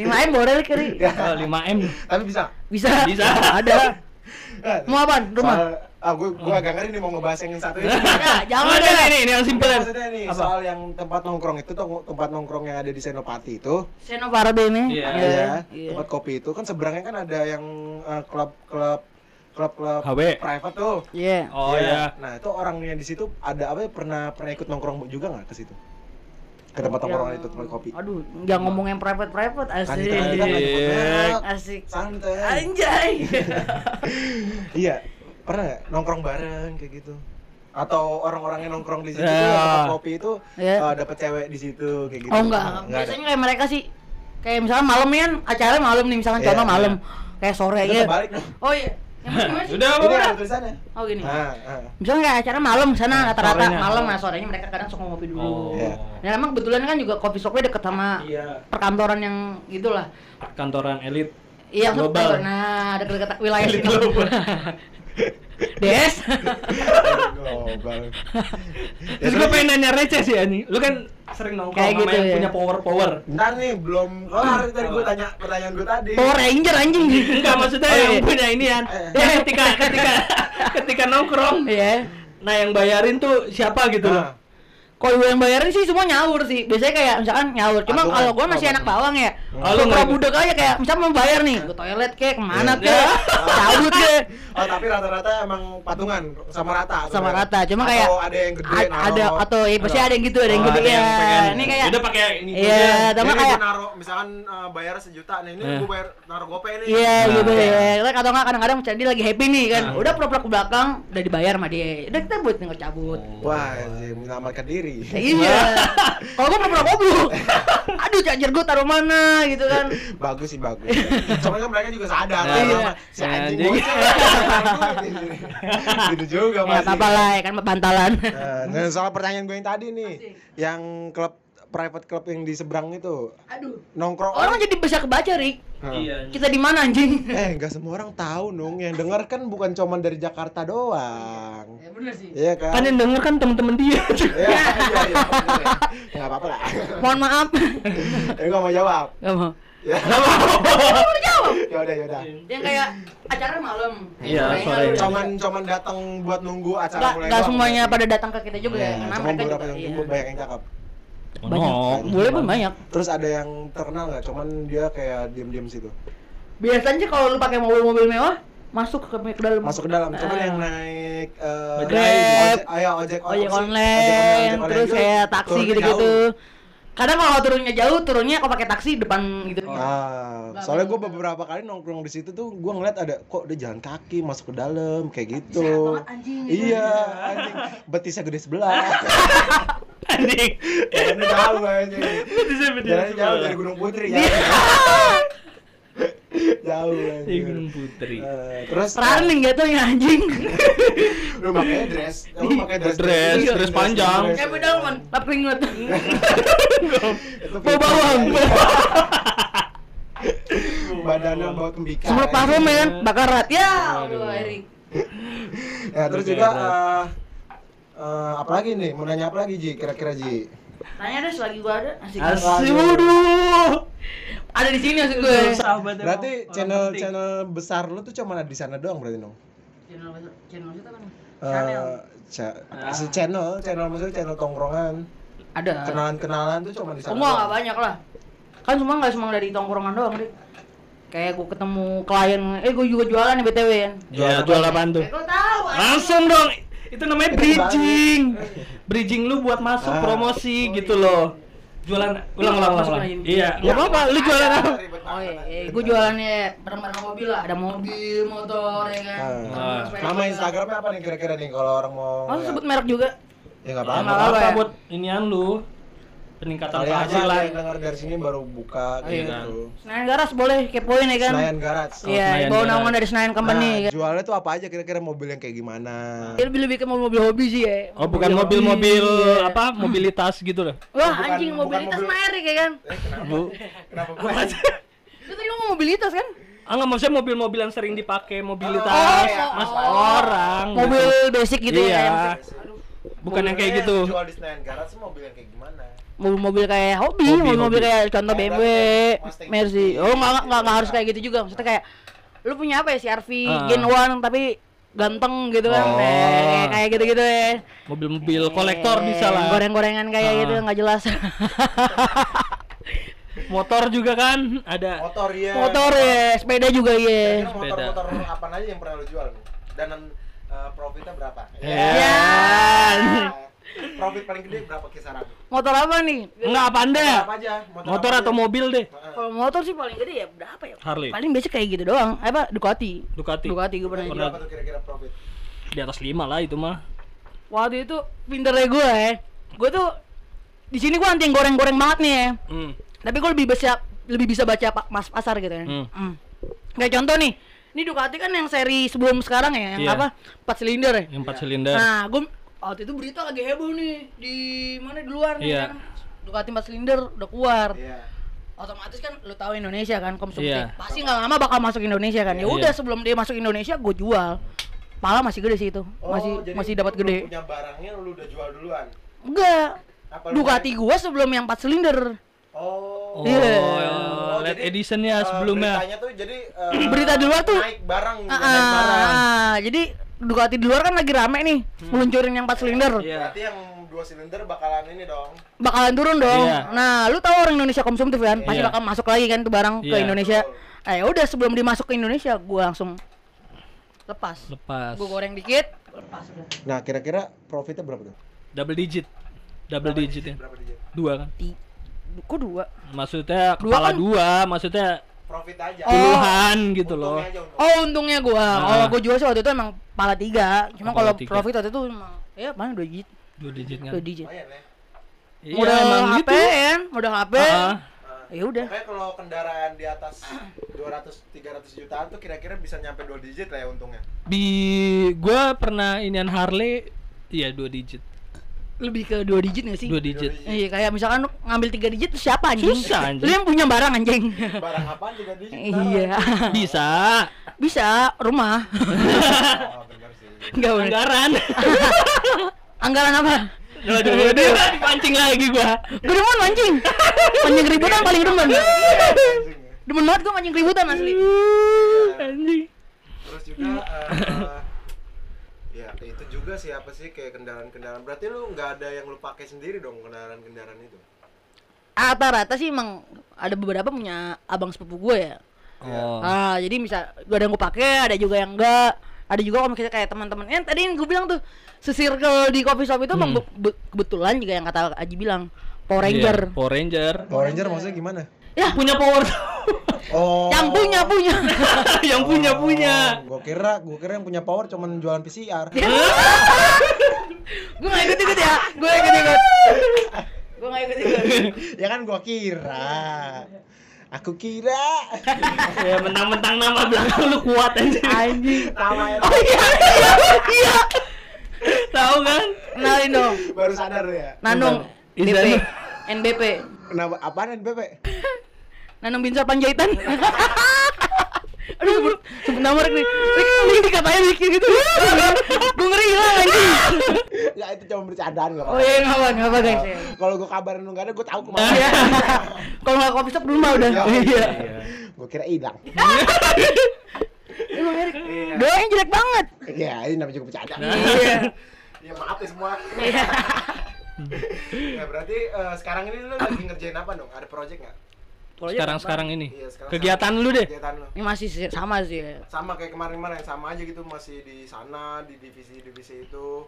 Speaker 3: lima m boleh Rick Rick.
Speaker 4: Oh, 5M
Speaker 1: tapi Iya. bisa
Speaker 3: bisa
Speaker 4: Bisa.
Speaker 3: ada mau apa Eh, rumah
Speaker 1: soal ah gue gue agak ngeri nih mau ngebahas yang satu
Speaker 3: (laughs)
Speaker 1: ini
Speaker 4: (laughs)
Speaker 3: ya jangan
Speaker 4: ada
Speaker 3: ada
Speaker 4: ini, ini yang simpel.
Speaker 1: maksudnya nih
Speaker 4: Apa?
Speaker 1: soal yang tempat nongkrong itu tong- tempat nongkrong yang ada di Senopati itu
Speaker 3: Senoparbe ini
Speaker 4: Iya.
Speaker 3: Iya.
Speaker 1: ya
Speaker 3: Iya.
Speaker 1: tempat kopi itu kan seberangnya kan ada yang eh, klub klub klub klub
Speaker 4: HW.
Speaker 1: private tuh
Speaker 3: iya
Speaker 4: Oh ya.
Speaker 1: nah itu orangnya di situ ada apa ya, pernah pernah ikut nongkrong juga nggak ke situ ke tempat nongkrong itu tempat kopi
Speaker 3: aduh jangan ngomong yang private private
Speaker 1: kan kita kan kita
Speaker 3: asik
Speaker 1: nggak nyebut merek.
Speaker 3: asik
Speaker 1: santai (laughs)
Speaker 3: anjay
Speaker 1: Gitu. Iya, pernah nggak nongkrong bareng kayak gitu? Atau orang-orang yang nongkrong di situ
Speaker 4: Ya.
Speaker 1: tuh yang tempat kopi itu
Speaker 3: Ya.
Speaker 1: eh, dapet cewek di situ kayak gitu.
Speaker 3: Oh enggak,
Speaker 1: Nah, enggak
Speaker 3: biasanya kayak mereka sih kayak misalnya malam nih kan acara malam nih misalkan
Speaker 1: Iya,
Speaker 3: contoh
Speaker 1: iya.
Speaker 3: malam kayak sore
Speaker 1: ada. Itu
Speaker 3: ya.
Speaker 1: terbalik dong.
Speaker 3: Oh iya.
Speaker 2: Udah, apa
Speaker 1: Ini
Speaker 2: udah.
Speaker 1: ada tulisannya.
Speaker 3: Oh gini.
Speaker 1: Ah, ah.
Speaker 3: Misalnya kayak acara malam sana rata-rata
Speaker 4: Sorenya.
Speaker 3: malam nah sorenya mereka kadang suka
Speaker 4: Oh.
Speaker 3: ngopi dulu.
Speaker 1: Iya.
Speaker 3: Ya emang kebetulan kan juga coffee shopnya deket sama
Speaker 4: Iya.
Speaker 3: perkantoran yang gitulah.
Speaker 4: Kantoran elit.
Speaker 3: Iya, maksud
Speaker 4: Global.
Speaker 3: kantor. Nah, deket-deket
Speaker 4: (laughs)
Speaker 3: wilayah
Speaker 4: Elit
Speaker 3: situ.
Speaker 4: global.
Speaker 1: (laughs)
Speaker 3: Des.
Speaker 1: Ya, Global. Ya,
Speaker 4: Terus gue pengen nanya receh sih anjing. Lu kan sering nongkrong
Speaker 3: Kayak
Speaker 4: sama
Speaker 3: gitu
Speaker 4: yang
Speaker 3: ya.
Speaker 4: punya power power. (laughs)
Speaker 1: Ntar nih belum kelar
Speaker 3: Hmm.
Speaker 1: tadi gue tanya pertanyaan gue tadi.
Speaker 3: Power Ranger anjing.
Speaker 4: (laughs) Enggak maksudnya
Speaker 3: Oh, iya.
Speaker 4: yang punya ini kan. Ya ketika ketika ketika nongkrong.
Speaker 3: Iya.
Speaker 4: Nah yang bayarin tuh siapa gitu loh.
Speaker 1: Ah.
Speaker 3: Kalau gue yang bayarin sih semua nyaur sih. Biasanya kayak misalkan nyaur. Cuma
Speaker 1: Patungan,
Speaker 3: kalau gue masih
Speaker 1: patungan.
Speaker 3: anak bawang ya,
Speaker 4: Oh, lu
Speaker 3: kalau
Speaker 4: nggak
Speaker 3: pura
Speaker 4: ikut.
Speaker 3: budak aja kayak misalkan mau bayar nih, ke toilet kek, kemana kek, cabut kek.
Speaker 1: Oh tapi rata-rata emang patungan sama rata.
Speaker 3: Sama
Speaker 1: sebenarnya.
Speaker 3: rata, cuma kayak
Speaker 1: atau ada yang gede
Speaker 3: A- ada
Speaker 1: naro.
Speaker 3: atau ya, pasti ada yang gitu, ada yang
Speaker 4: Oh,
Speaker 3: gitu ya.
Speaker 4: pengen,
Speaker 3: Ini kayak
Speaker 4: Udah pakai ini
Speaker 3: Iya,
Speaker 4: aja.
Speaker 3: sama
Speaker 1: Ini
Speaker 3: kayak
Speaker 1: gua naro misalkan eh, bayar sejuta nih ini
Speaker 4: Eh.
Speaker 1: gue bayar naro gope nih.
Speaker 3: Iya
Speaker 4: Nah,
Speaker 3: gitu
Speaker 4: iya.
Speaker 3: ya. Terus Atau nggak kadang-kadang jadi lagi happy nih kan.
Speaker 4: Nah.
Speaker 3: Udah pura-pura ke belakang, udah dibayar sama dia. Udah kita buat tinggal cabut.
Speaker 1: Wah, anjing, menyelamatkan diri.
Speaker 3: Ya, Iya.
Speaker 1: (laughs)
Speaker 3: Kalau gua pura-pura goblok. (laughs) Aduh, charger gua taruh mana gitu kan.
Speaker 1: bagus sih bagus. Cuma kan mereka juga sadar
Speaker 4: Nah,
Speaker 1: kalau
Speaker 4: iya.
Speaker 1: sama si
Speaker 4: Nah,
Speaker 1: anjing
Speaker 4: anjing.
Speaker 3: (laughs)
Speaker 1: bocil. gitu juga
Speaker 3: Ya
Speaker 1: masih.
Speaker 3: apa-apa lah ya kan bantalan.
Speaker 1: Eh, nah, soal pertanyaan gue yang tadi nih, yang klub private club yang di seberang itu
Speaker 3: Aduh.
Speaker 1: nongkrong
Speaker 3: Orang jadi bisa kebaca, Rik.
Speaker 1: Hah.
Speaker 4: Iya.
Speaker 3: Kita di mana anjing?
Speaker 1: Eh, nggak semua orang tahu nung. Yang denger kan bukan cuman dari Jakarta doang.
Speaker 3: bener sih.
Speaker 1: Iya kan?
Speaker 4: Kan yang denger kan temen-temen dia.
Speaker 1: (laughs) Iya, iya, iya, bener ya. Nggak apa-apa lah.
Speaker 3: (laughs) Mohon maaf. (laughs)
Speaker 1: Eh, nggak mau jawab.
Speaker 3: Gak mau.
Speaker 1: Ya. (laughs)
Speaker 3: Udah jawab.
Speaker 1: Ya udah, ya udah.
Speaker 3: Yang kayak acara malam.
Speaker 4: Iya,
Speaker 3: Kayaknya
Speaker 4: sore.
Speaker 3: udah-
Speaker 1: Cuman cuman datang buat nunggu acara
Speaker 3: Nggak-
Speaker 1: mulai.
Speaker 3: nggak
Speaker 1: doang.
Speaker 3: semuanya pada datang ke kita juga ya,
Speaker 1: Iya,
Speaker 3: karena
Speaker 1: cuma
Speaker 3: mereka
Speaker 1: beberapa
Speaker 3: juga
Speaker 1: yang
Speaker 3: iya.
Speaker 1: jemput banyak yang cakep.
Speaker 3: banyak. Boleh pun (laughs) banyak.
Speaker 1: Terus ada yang terkenal nggak? Cuman dia kayak diem-diem situ.
Speaker 3: Biasanya kalau lu pakai mobil-mobil mewah, masuk ke, ke dalam.
Speaker 1: Masuk ke dalam. Cuman
Speaker 3: Ah.
Speaker 1: yang naik eh,
Speaker 4: Grab,
Speaker 1: ojek, ayo ojek,
Speaker 3: ojek
Speaker 1: apa sih?
Speaker 3: Oh, iya, online, terus
Speaker 1: itu
Speaker 3: kayak taksi
Speaker 1: turun
Speaker 3: gitu-gitu.
Speaker 1: jauh.
Speaker 3: Kadang kalau turunnya jauh, turunnya kalau pakai taksi depan gitu.
Speaker 1: Ah, soalnya gue beberapa kali nongkrong di situ tuh gue ngeliat ada kok dia jalan kaki masuk ke dalam kayak gitu. Iya, anjing. Betisnya gede sebelah.
Speaker 4: Anjing.
Speaker 1: Jalannya jauh anjing.
Speaker 4: Bisa
Speaker 1: Jalannya jauh dari Gunung Putri ya. jauh anjing.
Speaker 4: Gunung Putri.
Speaker 1: Eh, terus
Speaker 3: Running jatuhnya anjing.
Speaker 1: lu pakai dress, lu pakai dress, Iya.
Speaker 4: Dress, dress panjang.
Speaker 3: Kayak bedal kan, lap keringet.
Speaker 1: Itu Iya,
Speaker 3: Bau bawang.
Speaker 1: Badannya bau tembikar.
Speaker 3: Semua parfum ya kan, bakarat. Ya,
Speaker 4: Aduh.
Speaker 3: Allah, Erik.
Speaker 1: Ya, terus juga eh eh, apa lagi nih? Mau nanya apa lagi Ji? Kira-kira Ji?
Speaker 3: Tanya deh selagi gua ada, asik.
Speaker 4: Asli waduh.
Speaker 3: Ada di sini asik gue.
Speaker 4: Sahabat emang
Speaker 1: Berarti
Speaker 4: orang
Speaker 1: channel
Speaker 4: penting.
Speaker 1: channel besar lu tuh cuma ada di sana doang berarti Eh, dong?
Speaker 3: Channel channel kita kan. Channel.
Speaker 1: Eh, cha- apa sih channel? Channel maksudnya channel tongkrongan.
Speaker 3: Ada.
Speaker 1: Kenalan-kenalan tuh cuma di sana.
Speaker 3: Semua nggak
Speaker 1: doang.
Speaker 3: banyak lah. Kan semua nggak cuma dari tongkrongan doang, Dik. Kayak gue ketemu klien, eh gue juga jualan nih BTW kan.
Speaker 4: Ya, jual apaan tuh?
Speaker 3: Eh, gue tahu.
Speaker 4: Langsung dong. Itu namanya
Speaker 1: Itu
Speaker 4: bridging. Bridging lu buat masuk
Speaker 1: Ah.
Speaker 4: promosi gitu loh. Jualan ulang ulang
Speaker 3: Masukin
Speaker 4: ulang.
Speaker 3: aja.
Speaker 4: Iya.
Speaker 1: Ya,
Speaker 4: Enggak apa-apa, lu jualan apa?
Speaker 3: Oh iya, eh, gue jualannya barang-barang mobil lah. Ada mobil, motor, ya kan.
Speaker 1: Ah.
Speaker 3: Terus sepeda.
Speaker 1: Nama Instagramnya apa nih kira-kira nih kalau orang mau
Speaker 3: Masa
Speaker 1: lihat?
Speaker 3: sebut merek juga?
Speaker 1: Ya nggak
Speaker 4: Ya,
Speaker 1: apa-apa.
Speaker 4: nggak apa-apa
Speaker 3: apa-apa ya.
Speaker 4: buat inian lu. Peningkatan
Speaker 1: Kali aja ada
Speaker 4: penghasilan.
Speaker 1: yang denger dari sini baru buka
Speaker 4: Iya.
Speaker 1: kayak gitu.
Speaker 3: Senayan Garas boleh kepoin ya kan.
Speaker 1: Senayan Garage.
Speaker 4: Oh, Senayan
Speaker 3: Iya, bawa
Speaker 4: Garage.
Speaker 3: naungan dari Senayan Company ya
Speaker 1: Nah,
Speaker 3: kan.
Speaker 1: jualnya tuh apa aja kira-kira mobil yang kayak gimana?
Speaker 3: Dia lebih lebih ke mobil-mobil hobi sih ya.
Speaker 4: Oh, bukan mobil-mobil apa? Mobilitas gitu loh.
Speaker 3: Wah,
Speaker 1: Bukan-
Speaker 3: anjing
Speaker 1: bukan
Speaker 3: mobilitas
Speaker 1: mobil- Eh.
Speaker 3: sama Erik ya kan.
Speaker 4: Bu.
Speaker 1: Kenapa
Speaker 3: Itu tadi ngomong mobilitas kan?
Speaker 4: Ah, nggak maksudnya mobil-mobil yang sering dipakai mobilitas
Speaker 3: Oh, iya.
Speaker 4: mas
Speaker 3: Oh.
Speaker 4: orang
Speaker 3: Mobil basic
Speaker 4: Iya.
Speaker 3: gitu ya. kayak-
Speaker 4: bukan yang kayak gitu
Speaker 1: Jual di Senayan Garage mobil yang kayak gimana?
Speaker 3: mobil-mobil kayak hobi,
Speaker 4: Hobi,
Speaker 3: mobil-mobil
Speaker 4: hobi.
Speaker 3: kayak contoh
Speaker 1: Kayak
Speaker 3: BMW,
Speaker 1: Mustang.
Speaker 3: Mercy. Oh, enggak enggak, enggak harus kayak gitu juga. Maksudnya kayak lu punya apa ya CR-V
Speaker 4: Ah.
Speaker 3: Gen 1 tapi ganteng gitu kan.
Speaker 4: Oh.
Speaker 3: Eh, kayak gitu-gitu ya.
Speaker 4: mobil-mobil kolektor
Speaker 3: Eh,
Speaker 4: bisa lah
Speaker 3: Goreng-gorengan kayak
Speaker 4: Ah.
Speaker 3: gitu nggak jelas.
Speaker 4: motor juga kan ada
Speaker 1: Motor ya.
Speaker 3: Motor ya, sepeda juga ya.
Speaker 4: Sepeda.
Speaker 1: Motor-motor apa aja yang pernah lu jual? nih? Dan eh, profitnya berapa?
Speaker 4: ya
Speaker 1: Profit paling gede berapa kisaran?
Speaker 3: Motor apa nih?
Speaker 4: nggak apa anda
Speaker 1: Apa aja?
Speaker 4: Eh. motor
Speaker 1: apa
Speaker 4: atau
Speaker 1: aja?
Speaker 4: mobil deh
Speaker 3: Kalau motor sih paling gede ya berapa ya?
Speaker 4: Harley
Speaker 3: Paling basic kayak gitu doang. Apa Ducati?
Speaker 4: Ducati
Speaker 3: Ducati gue pernah.
Speaker 1: Berapa tuh kira-kira profit?
Speaker 4: di atas lima lah itu mah
Speaker 3: Waktu itu pinternya gue ya. Gue tuh di sini gue anti yang goreng-goreng banget nih ya.
Speaker 4: hmm.
Speaker 3: tapi gue lebih bisa lebih bisa baca pa- mas pasar gitu ya
Speaker 4: Hmm.
Speaker 3: Hmm. kayak contoh nih Ini Ducati kan yang seri sebelum sekarang ya, yang
Speaker 4: Iya.
Speaker 3: apa? Empat silinder ya.
Speaker 4: Yang empat silinder.
Speaker 3: Nah, gue waktu itu berita lagi heboh nih di mana di luar nih
Speaker 4: Iya.
Speaker 3: kan. Ducati empat silinder udah keluar.
Speaker 1: Iya.
Speaker 3: Otomatis kan lu tahu Indonesia kan konsumsi.
Speaker 4: Iya.
Speaker 3: Pasti nggak lama bakal masuk Indonesia kan. Ya
Speaker 4: Iya.
Speaker 3: udah sebelum dia masuk Indonesia gue jual. Pala masih gede sih itu.
Speaker 1: Oh,
Speaker 3: masih
Speaker 1: jadi
Speaker 3: masih
Speaker 1: lu
Speaker 3: dapat
Speaker 1: belum
Speaker 3: gede.
Speaker 1: Punya barangnya lu udah jual duluan.
Speaker 3: Enggak.
Speaker 1: Apa lu
Speaker 3: Ducati gua sebelum yang empat silinder.
Speaker 1: main- Oh.
Speaker 4: Oh,
Speaker 3: Iya.
Speaker 4: late
Speaker 1: jadi,
Speaker 4: editionnya
Speaker 1: eh,
Speaker 4: sebelumnya.
Speaker 1: Beritanya tuh jadi eh,
Speaker 3: Berita di luar tuh-
Speaker 1: naik barang,
Speaker 3: Ah,
Speaker 1: naik barang.
Speaker 3: ah, jadi Ducati di luar kan lagi rame nih, meluncurin yang 4 silinder.
Speaker 4: Hmm. Iya.
Speaker 1: Berarti yang dua silinder bakalan ini dong.
Speaker 3: Bakalan turun dong.
Speaker 4: Iya.
Speaker 3: Nah, lu tahu orang Indonesia konsumtif kan, pasti
Speaker 4: Iya.
Speaker 3: bakal masuk lagi kan tuh barang ke
Speaker 4: Iya.
Speaker 3: Indonesia. Eh, udah sebelum dimasuk ke Indonesia, gua langsung lepas.
Speaker 4: Lepas.
Speaker 3: Gua goreng dikit.
Speaker 1: Nah, kira-kira profitnya berapa tuh?
Speaker 4: Double digit. Double digit ya.
Speaker 1: Berapa digit?
Speaker 4: Dua kan.
Speaker 3: Ti- Kok dua?
Speaker 4: Maksudnya
Speaker 3: Dua
Speaker 4: kepala
Speaker 3: kan?
Speaker 4: dua, maksudnya
Speaker 1: Profit aja.
Speaker 4: puluhan
Speaker 1: Oh.
Speaker 4: gitu
Speaker 1: Untungnya
Speaker 4: loh.
Speaker 1: aja, untung.
Speaker 3: Oh, untungnya gua.
Speaker 4: Ah.
Speaker 3: Kalau gua jual sih waktu itu emang pala tiga. Cuma
Speaker 4: Pala
Speaker 3: kalau
Speaker 4: tiga.
Speaker 3: profit waktu itu emang ya mana dua digit,
Speaker 4: Dua digit kan.
Speaker 3: dua digit.
Speaker 1: Lumayan ya.
Speaker 4: Iya,
Speaker 3: Modal
Speaker 4: emang
Speaker 3: HP
Speaker 4: gitu.
Speaker 3: kan, modal HP.
Speaker 4: Ah,
Speaker 1: Nah,
Speaker 3: Ya udah.
Speaker 1: Pokoknya kalau kendaraan di atas 200 300 jutaan tuh kira-kira bisa nyampe 2 digit lah ya untungnya.
Speaker 4: di gua pernah inian Harley iya dua digit.
Speaker 3: Lebih ke dua digit nggak sih?
Speaker 4: Dua digit.
Speaker 3: Iya kayak misalkan lu ngambil tiga digit tuh siapa anjing?
Speaker 4: Susah, anjing.
Speaker 3: Lu yang punya barang anjing.
Speaker 1: Barang apaan 3 digit?
Speaker 3: iya.
Speaker 4: (laughs) Bisa.
Speaker 3: (laughs) Bisa rumah.
Speaker 1: Taruh. Oh, bener sih.
Speaker 3: Enggak boleh.
Speaker 4: Anggaran.
Speaker 3: Anggaran apa?
Speaker 4: Aduh, aduh, aduh, (laughs) dipancing lagi gua.
Speaker 3: Gue demen mancing. Mancing keributan paling demen.
Speaker 1: Anjing ya.
Speaker 3: Demen banget gue mancing keributan asli.
Speaker 4: Anjing.
Speaker 1: Terus juga eh, ya itu juga sih apa sih kayak kendaraan-kendaraan. Berarti lu nggak ada yang lu pakai sendiri dong kendaraan-kendaraan itu.
Speaker 3: Ah, Rata-rata sih emang ada beberapa punya abang sepupu gue ya.
Speaker 4: Oh.
Speaker 3: Ah, jadi bisa gua ada yang gue pakai, ada juga yang enggak. Ada juga kalau misalnya kayak teman-teman yang tadi yang gue bilang tuh se-circle di coffee shop itu
Speaker 4: Hmm.
Speaker 3: emang be- be- kebetulan juga yang kata Aji bilang Power Ranger. Ya.
Speaker 4: Iya, Power Ranger. (laughs)
Speaker 1: Power Ranger maksudnya gimana?
Speaker 4: Yang Iya. punya power.
Speaker 3: (laughs)
Speaker 1: Oh.
Speaker 3: Yang punya
Speaker 4: (laughs)
Speaker 3: punya.
Speaker 4: yang punya punya.
Speaker 1: Gue kira, gue kira yang punya power cuman jualan PCR.
Speaker 3: (laughs) gue gak ikut ikut ya. Gue ikut ikut. Gue gak ikut ikut.
Speaker 1: ya kan gue kira. Aku kira.
Speaker 4: ya mentang-mentang nama belakang lu kuat anjing.
Speaker 3: Anjing.
Speaker 1: Namanya
Speaker 3: Oh iya iya iya.
Speaker 4: Tahu kan?
Speaker 3: Kenalin dong.
Speaker 1: baru sadar lu ya.
Speaker 3: Nanung.
Speaker 4: Izan.
Speaker 3: BP. NBP.
Speaker 1: Kenapa apaan NBP?
Speaker 3: Nanung Binsar
Speaker 4: (laughs)
Speaker 3: Panjaitan. Aduh sebut sebut nama Rick nih. Rick mending dikatain Ricky
Speaker 4: (laughs)
Speaker 3: gitu. gue ngeri lah anjing.
Speaker 1: ya itu cuma bercandaan gak
Speaker 3: Oh iya nggak apa nggak apa
Speaker 4: (laughs)
Speaker 3: guys. ya.
Speaker 1: Kalau gue kabarin lu gak ada, gue tahu
Speaker 3: Iya. (laughs)
Speaker 1: kemana.
Speaker 3: Kalau nggak kopi shop rumah udah. Iya.
Speaker 1: gue kira hilang.
Speaker 3: Emang Erik Iya. doanya jelek banget.
Speaker 1: Ya ini namanya juga bercanda.
Speaker 3: Iya.
Speaker 1: ya maaf ya semua.
Speaker 3: Iya.
Speaker 1: (laughs) ya berarti eh, sekarang ini lu lagi ngerjain apa dong? Ada project nggak?
Speaker 4: Sekarang-sekarang ini.
Speaker 1: Iya, sekarang-
Speaker 4: Kegiatan lu
Speaker 3: Eh.
Speaker 4: deh.
Speaker 1: Kegiatan lu?
Speaker 3: Ini masih sih- sama sih. ya.
Speaker 1: Sama kayak kemarin-kemarin yang sama aja gitu masih di sana di divisi-divisi itu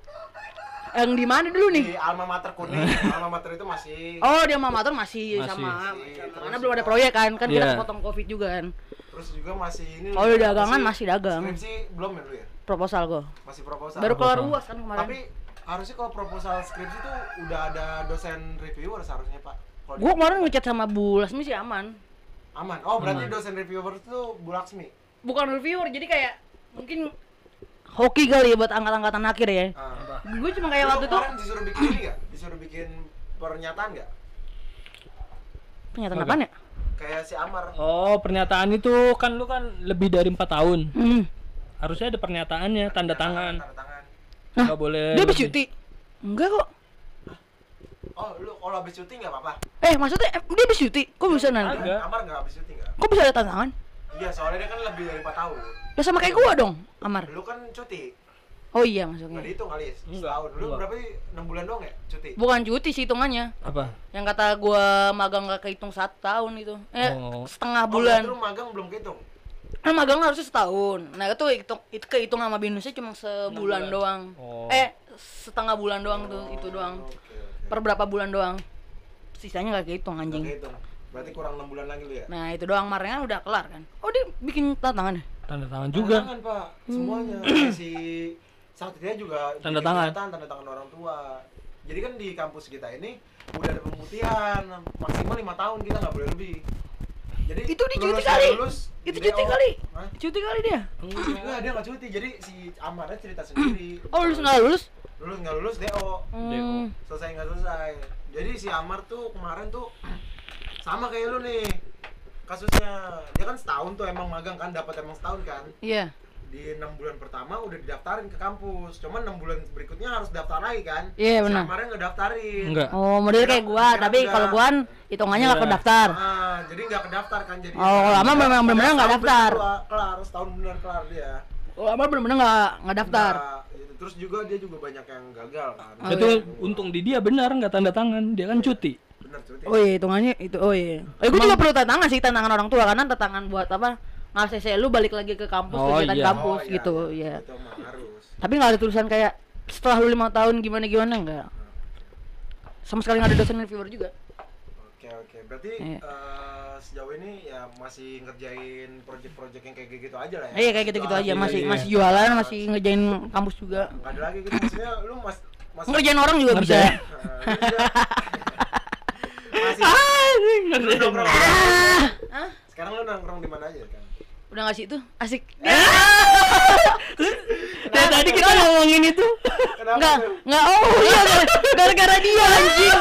Speaker 3: Yang di mana dulu nih?
Speaker 1: di alma mater
Speaker 3: (laughs)
Speaker 1: kuning alma mater itu masih
Speaker 3: Oh, dia sama motor masih,
Speaker 4: Masih.
Speaker 1: Iya.
Speaker 3: sama.
Speaker 1: Masih.
Speaker 3: Karena belum ada proyek kan, kan kita
Speaker 4: Iya.
Speaker 3: potong Covid juga kan.
Speaker 1: terus juga masih ini
Speaker 3: Kalau
Speaker 1: lu
Speaker 3: di dagangan
Speaker 1: apa
Speaker 3: Oh, masih
Speaker 1: sih?
Speaker 3: dagang.
Speaker 1: skripsi belum ya lu ya
Speaker 3: Proposal gua.
Speaker 1: masih proposal
Speaker 3: Baru keluar
Speaker 4: Proposal.
Speaker 3: UAS kan kemarin.
Speaker 1: tapi harusnya kalau proposal skripsi tuh udah ada dosen reviewer seharusnya pak Kalau di-
Speaker 3: Gua kemarin ngechat sama Bu Lasmi sih aman.
Speaker 1: aman oh berarti dosen reviewer tuh Bu Laksmi
Speaker 3: Bukan reviewer, jadi kayak mungkin hoki kali ya buat angkat-angkatan akhir ya.
Speaker 1: Ah.
Speaker 3: Gue cuma
Speaker 1: Lu
Speaker 3: kayak waktu itu
Speaker 1: kemarin disuruh bikin ini nggak disuruh bikin pernyataan nggak
Speaker 3: pernyataan apaan ya?
Speaker 1: kayak si Amar
Speaker 4: Oh, pernyataan itu kan lu kan lebih dari empat tahun.
Speaker 3: Hmm.
Speaker 4: Harusnya ada pernyataannya, tanda tangan.
Speaker 1: tanda tangan
Speaker 3: Hah?
Speaker 4: Enggak boleh.
Speaker 3: Dia habis
Speaker 4: lebih.
Speaker 3: cuti. Enggak kok.
Speaker 1: oh lu kalau habis syuting nggak apa-apa
Speaker 3: Eh, maksudnya eh, dia habis cuti. Kok bisa nanti?
Speaker 4: Enggak.
Speaker 1: Amar nggak habis syuting nggak
Speaker 3: Kok bisa ada tantangan?
Speaker 1: iya soalnya dia kan lebih dari 4 tahun
Speaker 3: Ya sama kayak gua dong, Amar.
Speaker 1: lu kan cuti
Speaker 3: Oh iya
Speaker 1: nggak
Speaker 3: maksudnya.
Speaker 1: dihitung kali ya
Speaker 4: Enggak,
Speaker 1: setahun lu
Speaker 4: enggak.
Speaker 1: berapa sih enam bulan doang ya cuti
Speaker 3: Bukan cuti sih hitungannya.
Speaker 4: Apa?
Speaker 3: yang kata gua magang gak kehitung satu tahun itu eh
Speaker 4: Oh.
Speaker 3: setengah
Speaker 1: Oh,
Speaker 3: bulan
Speaker 1: berarti lu magang belum kehitung
Speaker 3: kan magang harusnya setahun nah itu hitung itu kehitung sama binusnya cuma sebulan doang
Speaker 4: Oh.
Speaker 3: eh setengah bulan doang tuh itu doang
Speaker 1: oke oke
Speaker 3: per berapa bulan doang sisanya gak kehitung
Speaker 1: Nggak
Speaker 3: anjing
Speaker 1: kehitung berarti kurang enam bulan lagi lu ya
Speaker 3: nah itu doang kemarin kan udah kelar kan oh dia bikin tantangan ya?
Speaker 4: Tanda tangan juga.
Speaker 1: Tanda tangan pak
Speaker 4: (clears throat)
Speaker 1: semuanya si satria juga
Speaker 4: Tanda
Speaker 1: bikin
Speaker 4: tangan.
Speaker 1: pernyataan, tanda tangan orang tua jadi kan di kampus kita ini udah ada pemutihan maksimal lima tahun kita nggak boleh lebih Jadi
Speaker 3: Itu dia cuti
Speaker 1: lulus-
Speaker 3: kali.
Speaker 1: lulus,
Speaker 3: Itu
Speaker 1: DO.
Speaker 3: cuti kali.
Speaker 1: Hah?
Speaker 3: Cuti kali dia.
Speaker 1: Enggak, dia nggak cuti. Jadi si Amara cerita sendiri.
Speaker 3: (clears throat) Oh, lulus nggak lulus?
Speaker 1: Lulus nggak lulus DO.
Speaker 3: Hmm.
Speaker 1: Selesai nggak selesai. Jadi si Amar tuh kemarin tuh sama kayak lu nih kasusnya. Dia kan setahun tuh emang magang kan dapat emang setahun kan.
Speaker 3: Iya.
Speaker 1: Di enam bulan pertama udah didaftarin ke kampus. Cuman enam bulan berikutnya harus daftar lagi kan.
Speaker 3: Iya,
Speaker 1: si
Speaker 3: benar.
Speaker 1: Amar nggak daftarin.
Speaker 4: Enggak.
Speaker 3: Oh, model kayak gua,
Speaker 1: Enggak,
Speaker 3: tapi
Speaker 1: enggak.
Speaker 3: kalau gua kan hitungannya nggak kedaftar.
Speaker 1: Ah, jadi nggak kedaftar kan jadi.
Speaker 3: Oh, kalau lama memang bener-bener nggak
Speaker 1: Setahun
Speaker 3: daftar.
Speaker 1: bener Kelar, setahun bener kelar dia.
Speaker 3: Kalau lama bener-bener nggak nggak daftar.
Speaker 1: Nah, gitu. terus juga dia juga banyak yang gagal kan.
Speaker 3: Oh,
Speaker 4: Itu untung di dia benar nggak tanda tangan, dia kan cuti.
Speaker 1: Bener cuti.
Speaker 3: Oh iya, hitungannya itu. Oh iya. Eh, gua juga perlu tantangan sih, tantangan orang tua karena tantangan buat apa? Ngasih lu balik lagi ke kampus,
Speaker 4: Oh,
Speaker 3: kegiatan
Speaker 4: iya.
Speaker 3: kampus gitu, iya.
Speaker 1: Itu mah harus.
Speaker 3: Tapi nggak ada tulisan kayak setelah lu lima tahun gimana gimana nggak? Sama sekali nggak ada dosen reviewer juga.
Speaker 1: Oke oke. Berarti
Speaker 3: Iya.
Speaker 1: eh, sejauh ini ya masih ngerjain project-project yang kayak gitu aja lah ya.
Speaker 3: Eh, iya kayak gitu-gitu aja,
Speaker 1: Iya,
Speaker 3: masih
Speaker 1: iya.
Speaker 3: masih jualan, masih ngejain kampus juga.
Speaker 1: Nggak ada lagi gitu. Maksudnya lu mas mas
Speaker 3: Ngerjain orang juga bisa.
Speaker 4: Ngerjain.
Speaker 1: (laughs) Eh, lu juga- masih lu nongkrong.
Speaker 4: Ah,
Speaker 3: Ah!
Speaker 1: Sekarang lu nongkrong di mana aja kan?
Speaker 3: Udah ngasih itu asik.
Speaker 1: (laughs) Nah,
Speaker 4: Dari tadi kita ngomongin itu.
Speaker 1: Kenapa?
Speaker 3: Enggak,
Speaker 1: tuh?
Speaker 3: enggak. Oh iya, gara- gara-gara dia anjing.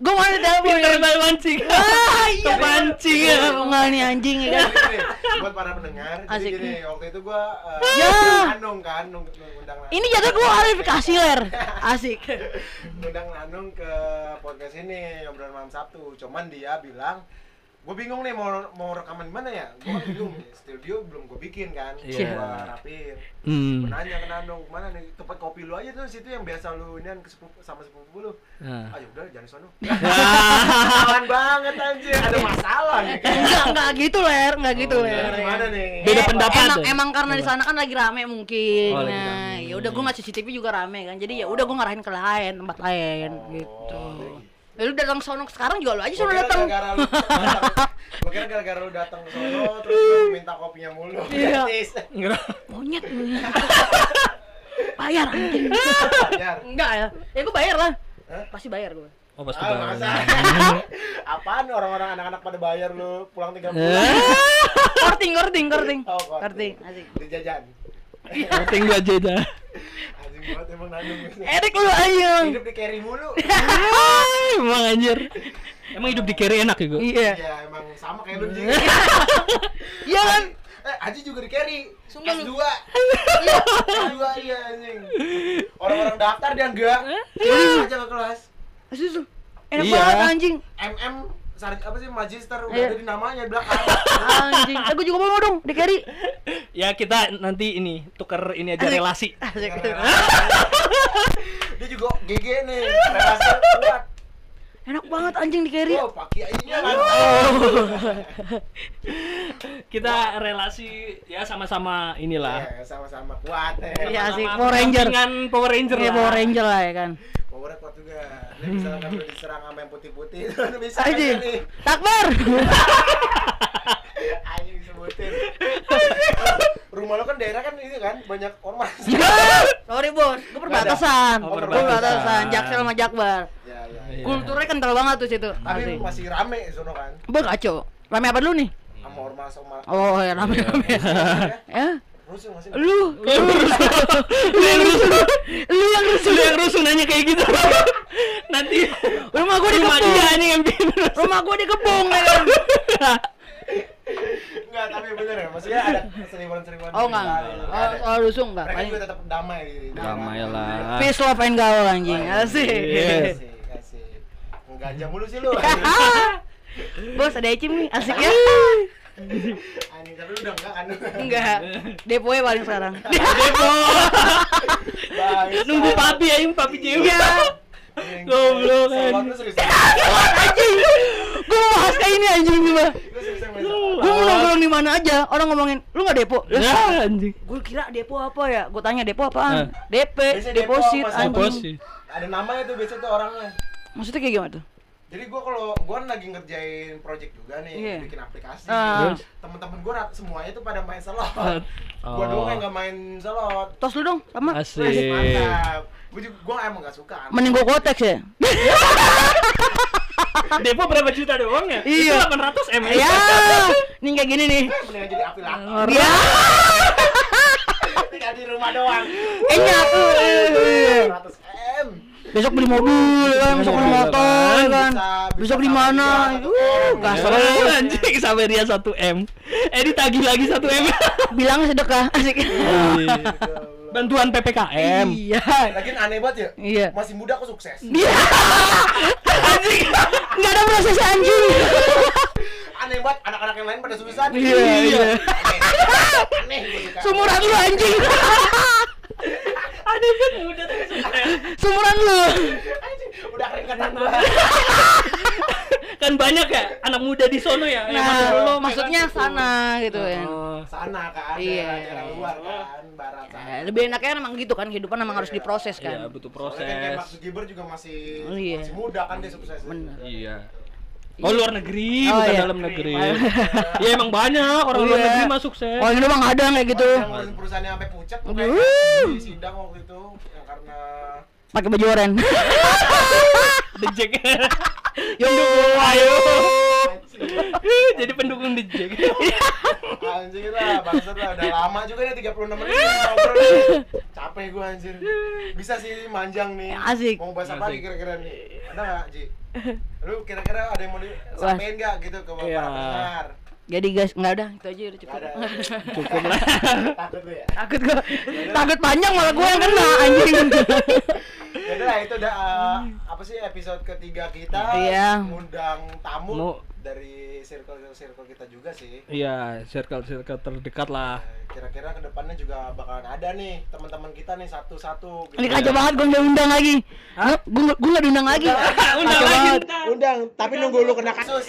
Speaker 3: Gua mau ada telepon.
Speaker 4: Pintar banget mancing.
Speaker 3: Ah, iya.
Speaker 4: Kepancing ya.
Speaker 3: Enggak nih anjing ya kan.
Speaker 1: Jadi Eh, gini, buat para pendengar,
Speaker 3: Asik.
Speaker 1: jadi gini, waktu itu gua eh,
Speaker 3: Ya.
Speaker 1: Nanung kan, nung- ngundang Nanung.
Speaker 3: Ini jatuh gua klarifikasi ler. Asik.
Speaker 1: ngundang Nanung ke podcast ini obrolan malam Sabtu. Cuman dia bilang, gue bingung nih mau mau rekaman di mana ya? Gue bingung nih, studio belum gue bikin kan,
Speaker 4: Iya.
Speaker 1: gue rapin.
Speaker 4: Hmm.
Speaker 1: Gua nanya ke Nanung, mana nih tempat kopi lu aja tuh situ yang biasa lu ini kan ke sepupu, sama sepupu lu.
Speaker 4: Nah.
Speaker 1: Ayo udah Ah, jangan di sono. (laughs) Aman banget anjir, ada masalah nih.
Speaker 3: Enggak, enggak gitu ler, enggak gitu ler.
Speaker 1: Gimana nih?
Speaker 4: Oh, Beda
Speaker 3: Eh,
Speaker 4: pendapat
Speaker 3: emang,
Speaker 4: ya?
Speaker 3: emang karena di sana kan lagi rame mungkin
Speaker 4: Oh, lagi
Speaker 3: nah
Speaker 4: rame.
Speaker 3: ya udah gue nggak CCTV juga rame kan jadi ya udah gue ngarahin ke lain tempat lain gitu
Speaker 4: Oh, iya.
Speaker 3: ya, lu datang sono sekarang juga lu aja
Speaker 1: Gua
Speaker 3: suruh
Speaker 1: kira
Speaker 3: datang
Speaker 1: gara-gara lu datang. Gua kira gara-gara lu datang ke sono terus lu minta kopinya mulu. (laughs)
Speaker 3: Iya.
Speaker 1: Gratis.
Speaker 3: monyet lu (laughs) bayar anjing
Speaker 1: Bayar.
Speaker 3: enggak ya ya gue bayar lah
Speaker 1: Hah?
Speaker 3: pasti bayar (laughs) gue
Speaker 4: Oh pasti
Speaker 1: Ah,
Speaker 4: banget.
Speaker 1: masa? (laughs) Apaan orang-orang anak-anak pada bayar lu pulang tiga bulan?
Speaker 4: Eh,
Speaker 3: korting korting korting
Speaker 1: Oh, korting.
Speaker 3: korting asik
Speaker 1: Dijajan.
Speaker 4: penting gua aja dah.
Speaker 1: Anjing banget emang Nanung.
Speaker 3: Erik lu ayo
Speaker 1: Hidup di carry mulu.
Speaker 4: Ah, Emang anjir. Emang hidup di carry enak ya gua.
Speaker 3: iya
Speaker 1: Iya, emang sama kayak lu juga.
Speaker 3: iya kan
Speaker 1: Eh, Aji juga di carry.
Speaker 3: Sumpah lu.
Speaker 1: S2.
Speaker 3: (laughs)
Speaker 1: Iya, S2 iya anjing. Orang-orang daftar dia enggak.
Speaker 3: Iya.
Speaker 1: Terus aja ke kelas.
Speaker 3: Asus lu enak
Speaker 4: Iya.
Speaker 3: banget anjing
Speaker 1: MM sarj apa sih magister udah
Speaker 3: Iya.
Speaker 1: ada di namanya di
Speaker 3: (laughs)
Speaker 1: belakang.
Speaker 3: anjing eh gue juga mau dong di carry
Speaker 4: Ya kita nanti ini tuker ini aja relasi.
Speaker 3: asik
Speaker 1: Dia juga GG nih. Relasi kuat.
Speaker 3: enak banget anjing di carry
Speaker 1: Oh, Pak
Speaker 3: Iya.
Speaker 1: Kiainya kan.
Speaker 4: Kita relasi ya sama-sama inilah.
Speaker 1: Iya, sama-sama kuat. ya.
Speaker 3: Iya, asik.
Speaker 4: Sama-sama
Speaker 3: Power Ranger.
Speaker 4: pendampingan Power Ranger
Speaker 3: Iya
Speaker 4: lah.
Speaker 3: Power Ranger lah ya kan.
Speaker 1: Power kuat juga. Ini
Speaker 3: (laughs)
Speaker 1: misalkan lu diserang sama yang putih-putih, (laughs) lu bisa kan
Speaker 3: Aji,
Speaker 1: nih.
Speaker 3: (laughs) takbir.
Speaker 1: Anjing disebutin. Rumah lu kan daerah kan ini kan banyak ormas.
Speaker 3: Iya. Sorry bos, gue perbatasan.
Speaker 4: Oh,
Speaker 3: Gua
Speaker 4: perbatasan.
Speaker 3: perbatasan. Jaksel sama Jakbar.
Speaker 1: Ya, ya.
Speaker 4: Iya.
Speaker 3: Kulturnya kental banget tuh situ.
Speaker 1: Tapi
Speaker 3: Asik.
Speaker 1: masih rame sono kan
Speaker 3: Bang kacau. ah, Rame apa dulu nih?
Speaker 1: sama ormas sama.
Speaker 3: Oh, ya
Speaker 4: Iya.
Speaker 3: rame
Speaker 4: (laughs)
Speaker 3: rame. Eh,
Speaker 1: Rusuh masih.
Speaker 3: lu, lu, (laughs)
Speaker 4: Lu yang rusuh,
Speaker 3: lu yang rusuh.
Speaker 4: lu yang rusuh nanya kayak gitu. nanti
Speaker 3: Rumah gue
Speaker 4: rumah
Speaker 3: dikepung.
Speaker 4: dia nih yang bikin rusuh.
Speaker 3: Rumah gue dikepung ya
Speaker 4: (laughs)
Speaker 3: kan.
Speaker 1: Enggak, tapi bener ya. Maksudnya ada seribuan-seribuan.
Speaker 3: Oh enggak.
Speaker 1: Ada,
Speaker 3: Oh,
Speaker 1: ada.
Speaker 3: soal rusuh enggak.
Speaker 1: Mereka
Speaker 3: Paling
Speaker 1: juga tetap damai di daerah.
Speaker 3: peace love and gaul anjing.
Speaker 4: Yes.
Speaker 3: Asik.
Speaker 1: Asik, asik. Ngeganja mulu sih lu.
Speaker 3: (laughs) Bos ada Ecim nih, asik ya.
Speaker 1: Anjing, tapi lu udah enggak kan?
Speaker 3: Enggak. Depo ya paling sekarang.
Speaker 4: (laughs) Depo.
Speaker 1: Bang,
Speaker 4: Nunggu papi ya, ini papi cewek.
Speaker 3: Iya.
Speaker 4: Goblok,
Speaker 1: Salon
Speaker 4: anjing.
Speaker 1: lu serius.
Speaker 3: anjing gue mau bahas kayak ini anjing gue
Speaker 1: Lu seriusan main salon?
Speaker 3: gue mau nongkrong di mana aja orang ngomongin lu nggak depo
Speaker 4: Ya anjing.
Speaker 3: gue kira depo apa ya gue tanya depo
Speaker 4: Eh.
Speaker 3: apaan DP
Speaker 1: Biasanya depo
Speaker 3: deposit
Speaker 1: apa sih?
Speaker 3: anjing
Speaker 1: Ada namanya tuh biasanya tuh orangnya.
Speaker 3: maksudnya kayak gimana tuh
Speaker 1: Jadi gua kalau gua lagi ngerjain project juga nih,
Speaker 3: Iya.
Speaker 1: bikin aplikasi.
Speaker 3: Ah.
Speaker 1: Terus Temen-temen gua rat- semuanya tuh pada main selot. Gua
Speaker 3: Oh.
Speaker 1: doang yang gak main selot.
Speaker 3: tos lu dong sama
Speaker 4: Asik.
Speaker 1: (laughs) Mantap. Gua juga gua emang gak suka.
Speaker 3: mending gue kotek ya
Speaker 4: Depo berapa juta doang ya?
Speaker 3: Iya.
Speaker 4: Itu 800 M.
Speaker 3: Ya, ini kayak gini nih.
Speaker 1: Mendingan jadi apilator.
Speaker 3: Ya,
Speaker 1: (laughs) Tinggal di rumah doang.
Speaker 3: eh nyatu. eh.
Speaker 1: 100 M.
Speaker 3: Besok beli mobil kan, besok beli
Speaker 4: Iya,
Speaker 3: motor
Speaker 4: kan.
Speaker 1: Bisa-
Speaker 3: kan.
Speaker 1: bisa
Speaker 3: Besok di
Speaker 1: tambah
Speaker 3: mana?
Speaker 1: jual
Speaker 3: Uh,
Speaker 1: atau-
Speaker 3: gas
Speaker 4: Kasar
Speaker 3: terus.
Speaker 4: anjing sampai dia 1 M. Eh ditagih lagi 1 M.
Speaker 3: Bilang sedekah ya, asik.
Speaker 4: Iya, Bantuan PPKM.
Speaker 3: Iya.
Speaker 1: Lagian aneh banget ya.
Speaker 3: Iya.
Speaker 1: Masih muda kok sukses.
Speaker 3: Iya. Anjing. Enggak ada proses anjing.
Speaker 1: Aneh banget anak-anak yang lain pada suksesan.
Speaker 3: Iya, iya. (laughs)
Speaker 1: Aneh. Aneh gua suka.
Speaker 3: Sumuran lu anjing.
Speaker 4: Ada kan muda tapi sukses.
Speaker 3: Sumuran lu.
Speaker 1: Anjing, Udah
Speaker 3: (laughs)
Speaker 1: keringetan gua.
Speaker 4: Kan banyak ya anak muda di sono
Speaker 1: Eh,
Speaker 4: ya. yang masih
Speaker 3: Nah,
Speaker 4: belum, ya
Speaker 3: lu
Speaker 4: kan?
Speaker 3: maksudnya sana gitu kan.
Speaker 4: Oh.
Speaker 1: Sana kan,
Speaker 3: Iya.
Speaker 1: daerah-daerah luar kan, barat
Speaker 3: Eh,
Speaker 1: sana.
Speaker 3: lebih enaknya emang gitu kan kehidupan emang harus diproses
Speaker 4: Iya,
Speaker 3: kan.
Speaker 4: butuh
Speaker 1: Soalnya kayak- kayak
Speaker 4: proses.
Speaker 1: Mark Zuckerberg juga masih
Speaker 3: Oh, iya.
Speaker 1: masih muda kan dia sukses.
Speaker 3: Bener.
Speaker 4: Iya. Oh luar negeri,
Speaker 3: Oh,
Speaker 4: bukan
Speaker 3: iya.
Speaker 4: dalam negeri. Iya emang banyak orang
Speaker 3: Oh,
Speaker 4: luar
Speaker 3: iya.
Speaker 4: negeri mah sukses.
Speaker 3: Oh, ini doang ada kayak gitu.
Speaker 1: Orang Yang ngurusin perusahaannya sampai pucat mukanya
Speaker 3: Aduh.
Speaker 1: di sidang waktu itu ya karena (laughs)
Speaker 3: Pakai baju oren.
Speaker 4: The Jack.
Speaker 3: Yo,
Speaker 1: (laughs)
Speaker 4: Ayo.
Speaker 1: anjing,
Speaker 4: (laughs) Jadi pendukung The Jack.
Speaker 1: anjing lah, bangsat lah udah lama juga nih 36 menit
Speaker 3: (laughs)
Speaker 1: kita ngobrol nih. Capek gua anjir. Bisa sih manjang nih.
Speaker 3: Asik.
Speaker 1: Mau bahas apa lagi
Speaker 4: Asik.
Speaker 1: kira-kira nih? Ada enggak, Ji? Lu kira-kira ada yang mau disampaikan enggak gitu ke para
Speaker 4: Iya.
Speaker 1: pendengar?
Speaker 3: Jadi guys, enggak ada, itu aja udah (laughs) cukup.
Speaker 1: Nggak ada.
Speaker 4: Cukup lah.
Speaker 1: Takut lu ya.
Speaker 3: Takut gua. Takut panjang malah gua yang kena
Speaker 1: (laughs)
Speaker 3: anjing.
Speaker 1: Yaudah lah, itu Ya udah uh, apa sih episode ketiga kita
Speaker 3: Iya.
Speaker 1: ngundang tamu
Speaker 4: Mu-
Speaker 1: dari circle circle kita juga sih.
Speaker 4: Iya, circle-circle terdekat lah.
Speaker 1: Eh, Kira-kira kedepannya juga bakalan ada nih teman-teman kita nih satu-satu. gitu. Iya.
Speaker 3: Ini kacau banget gua nggak undang lagi. Hah? Gua nggak- gua nggak diundang lagi.
Speaker 4: Undang
Speaker 3: Kacau
Speaker 4: lagi.
Speaker 3: banget. Iya.
Speaker 4: ntar.
Speaker 1: Undang, tapi nunggu lu kena kasus.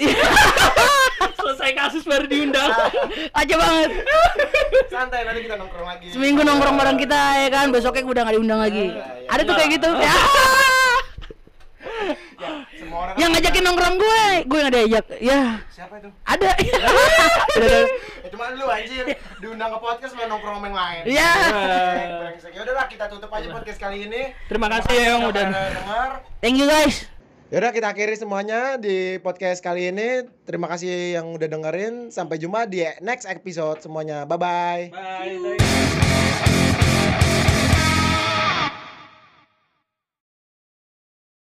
Speaker 4: Selesai kasus baru diundang.
Speaker 3: Aja banget.
Speaker 1: Santai nanti kita nongkrong lagi.
Speaker 3: Seminggu nongkrong bareng kita ya kan, besoknya gua udah nggak diundang lagi.
Speaker 1: Iya, iya.
Speaker 3: Ada tuh kayak gitu. Ya.
Speaker 1: Ya, semua orang.
Speaker 3: Yang ngajakin nongkrong gue, gue nggak diajak. Ya,
Speaker 1: Siapa itu?
Speaker 3: ada.
Speaker 1: Ya, cuma lu anjir diundang ke podcast malah nongkrong sama yang lain.
Speaker 3: (laughs) Ya.
Speaker 1: Brengsek. Ya udahlah kita tutup
Speaker 3: Iya.
Speaker 1: aja podcast kali ini.
Speaker 4: Terima kasih yang
Speaker 1: Udah
Speaker 4: udah
Speaker 1: dengar.
Speaker 3: Thank you guys.
Speaker 1: Yaudah Ya kita akhiri semuanya di podcast kali ini. Terima kasih yang udah dengerin. Sampai jumpa di next episode semuanya. Bye-bye.
Speaker 4: Bye.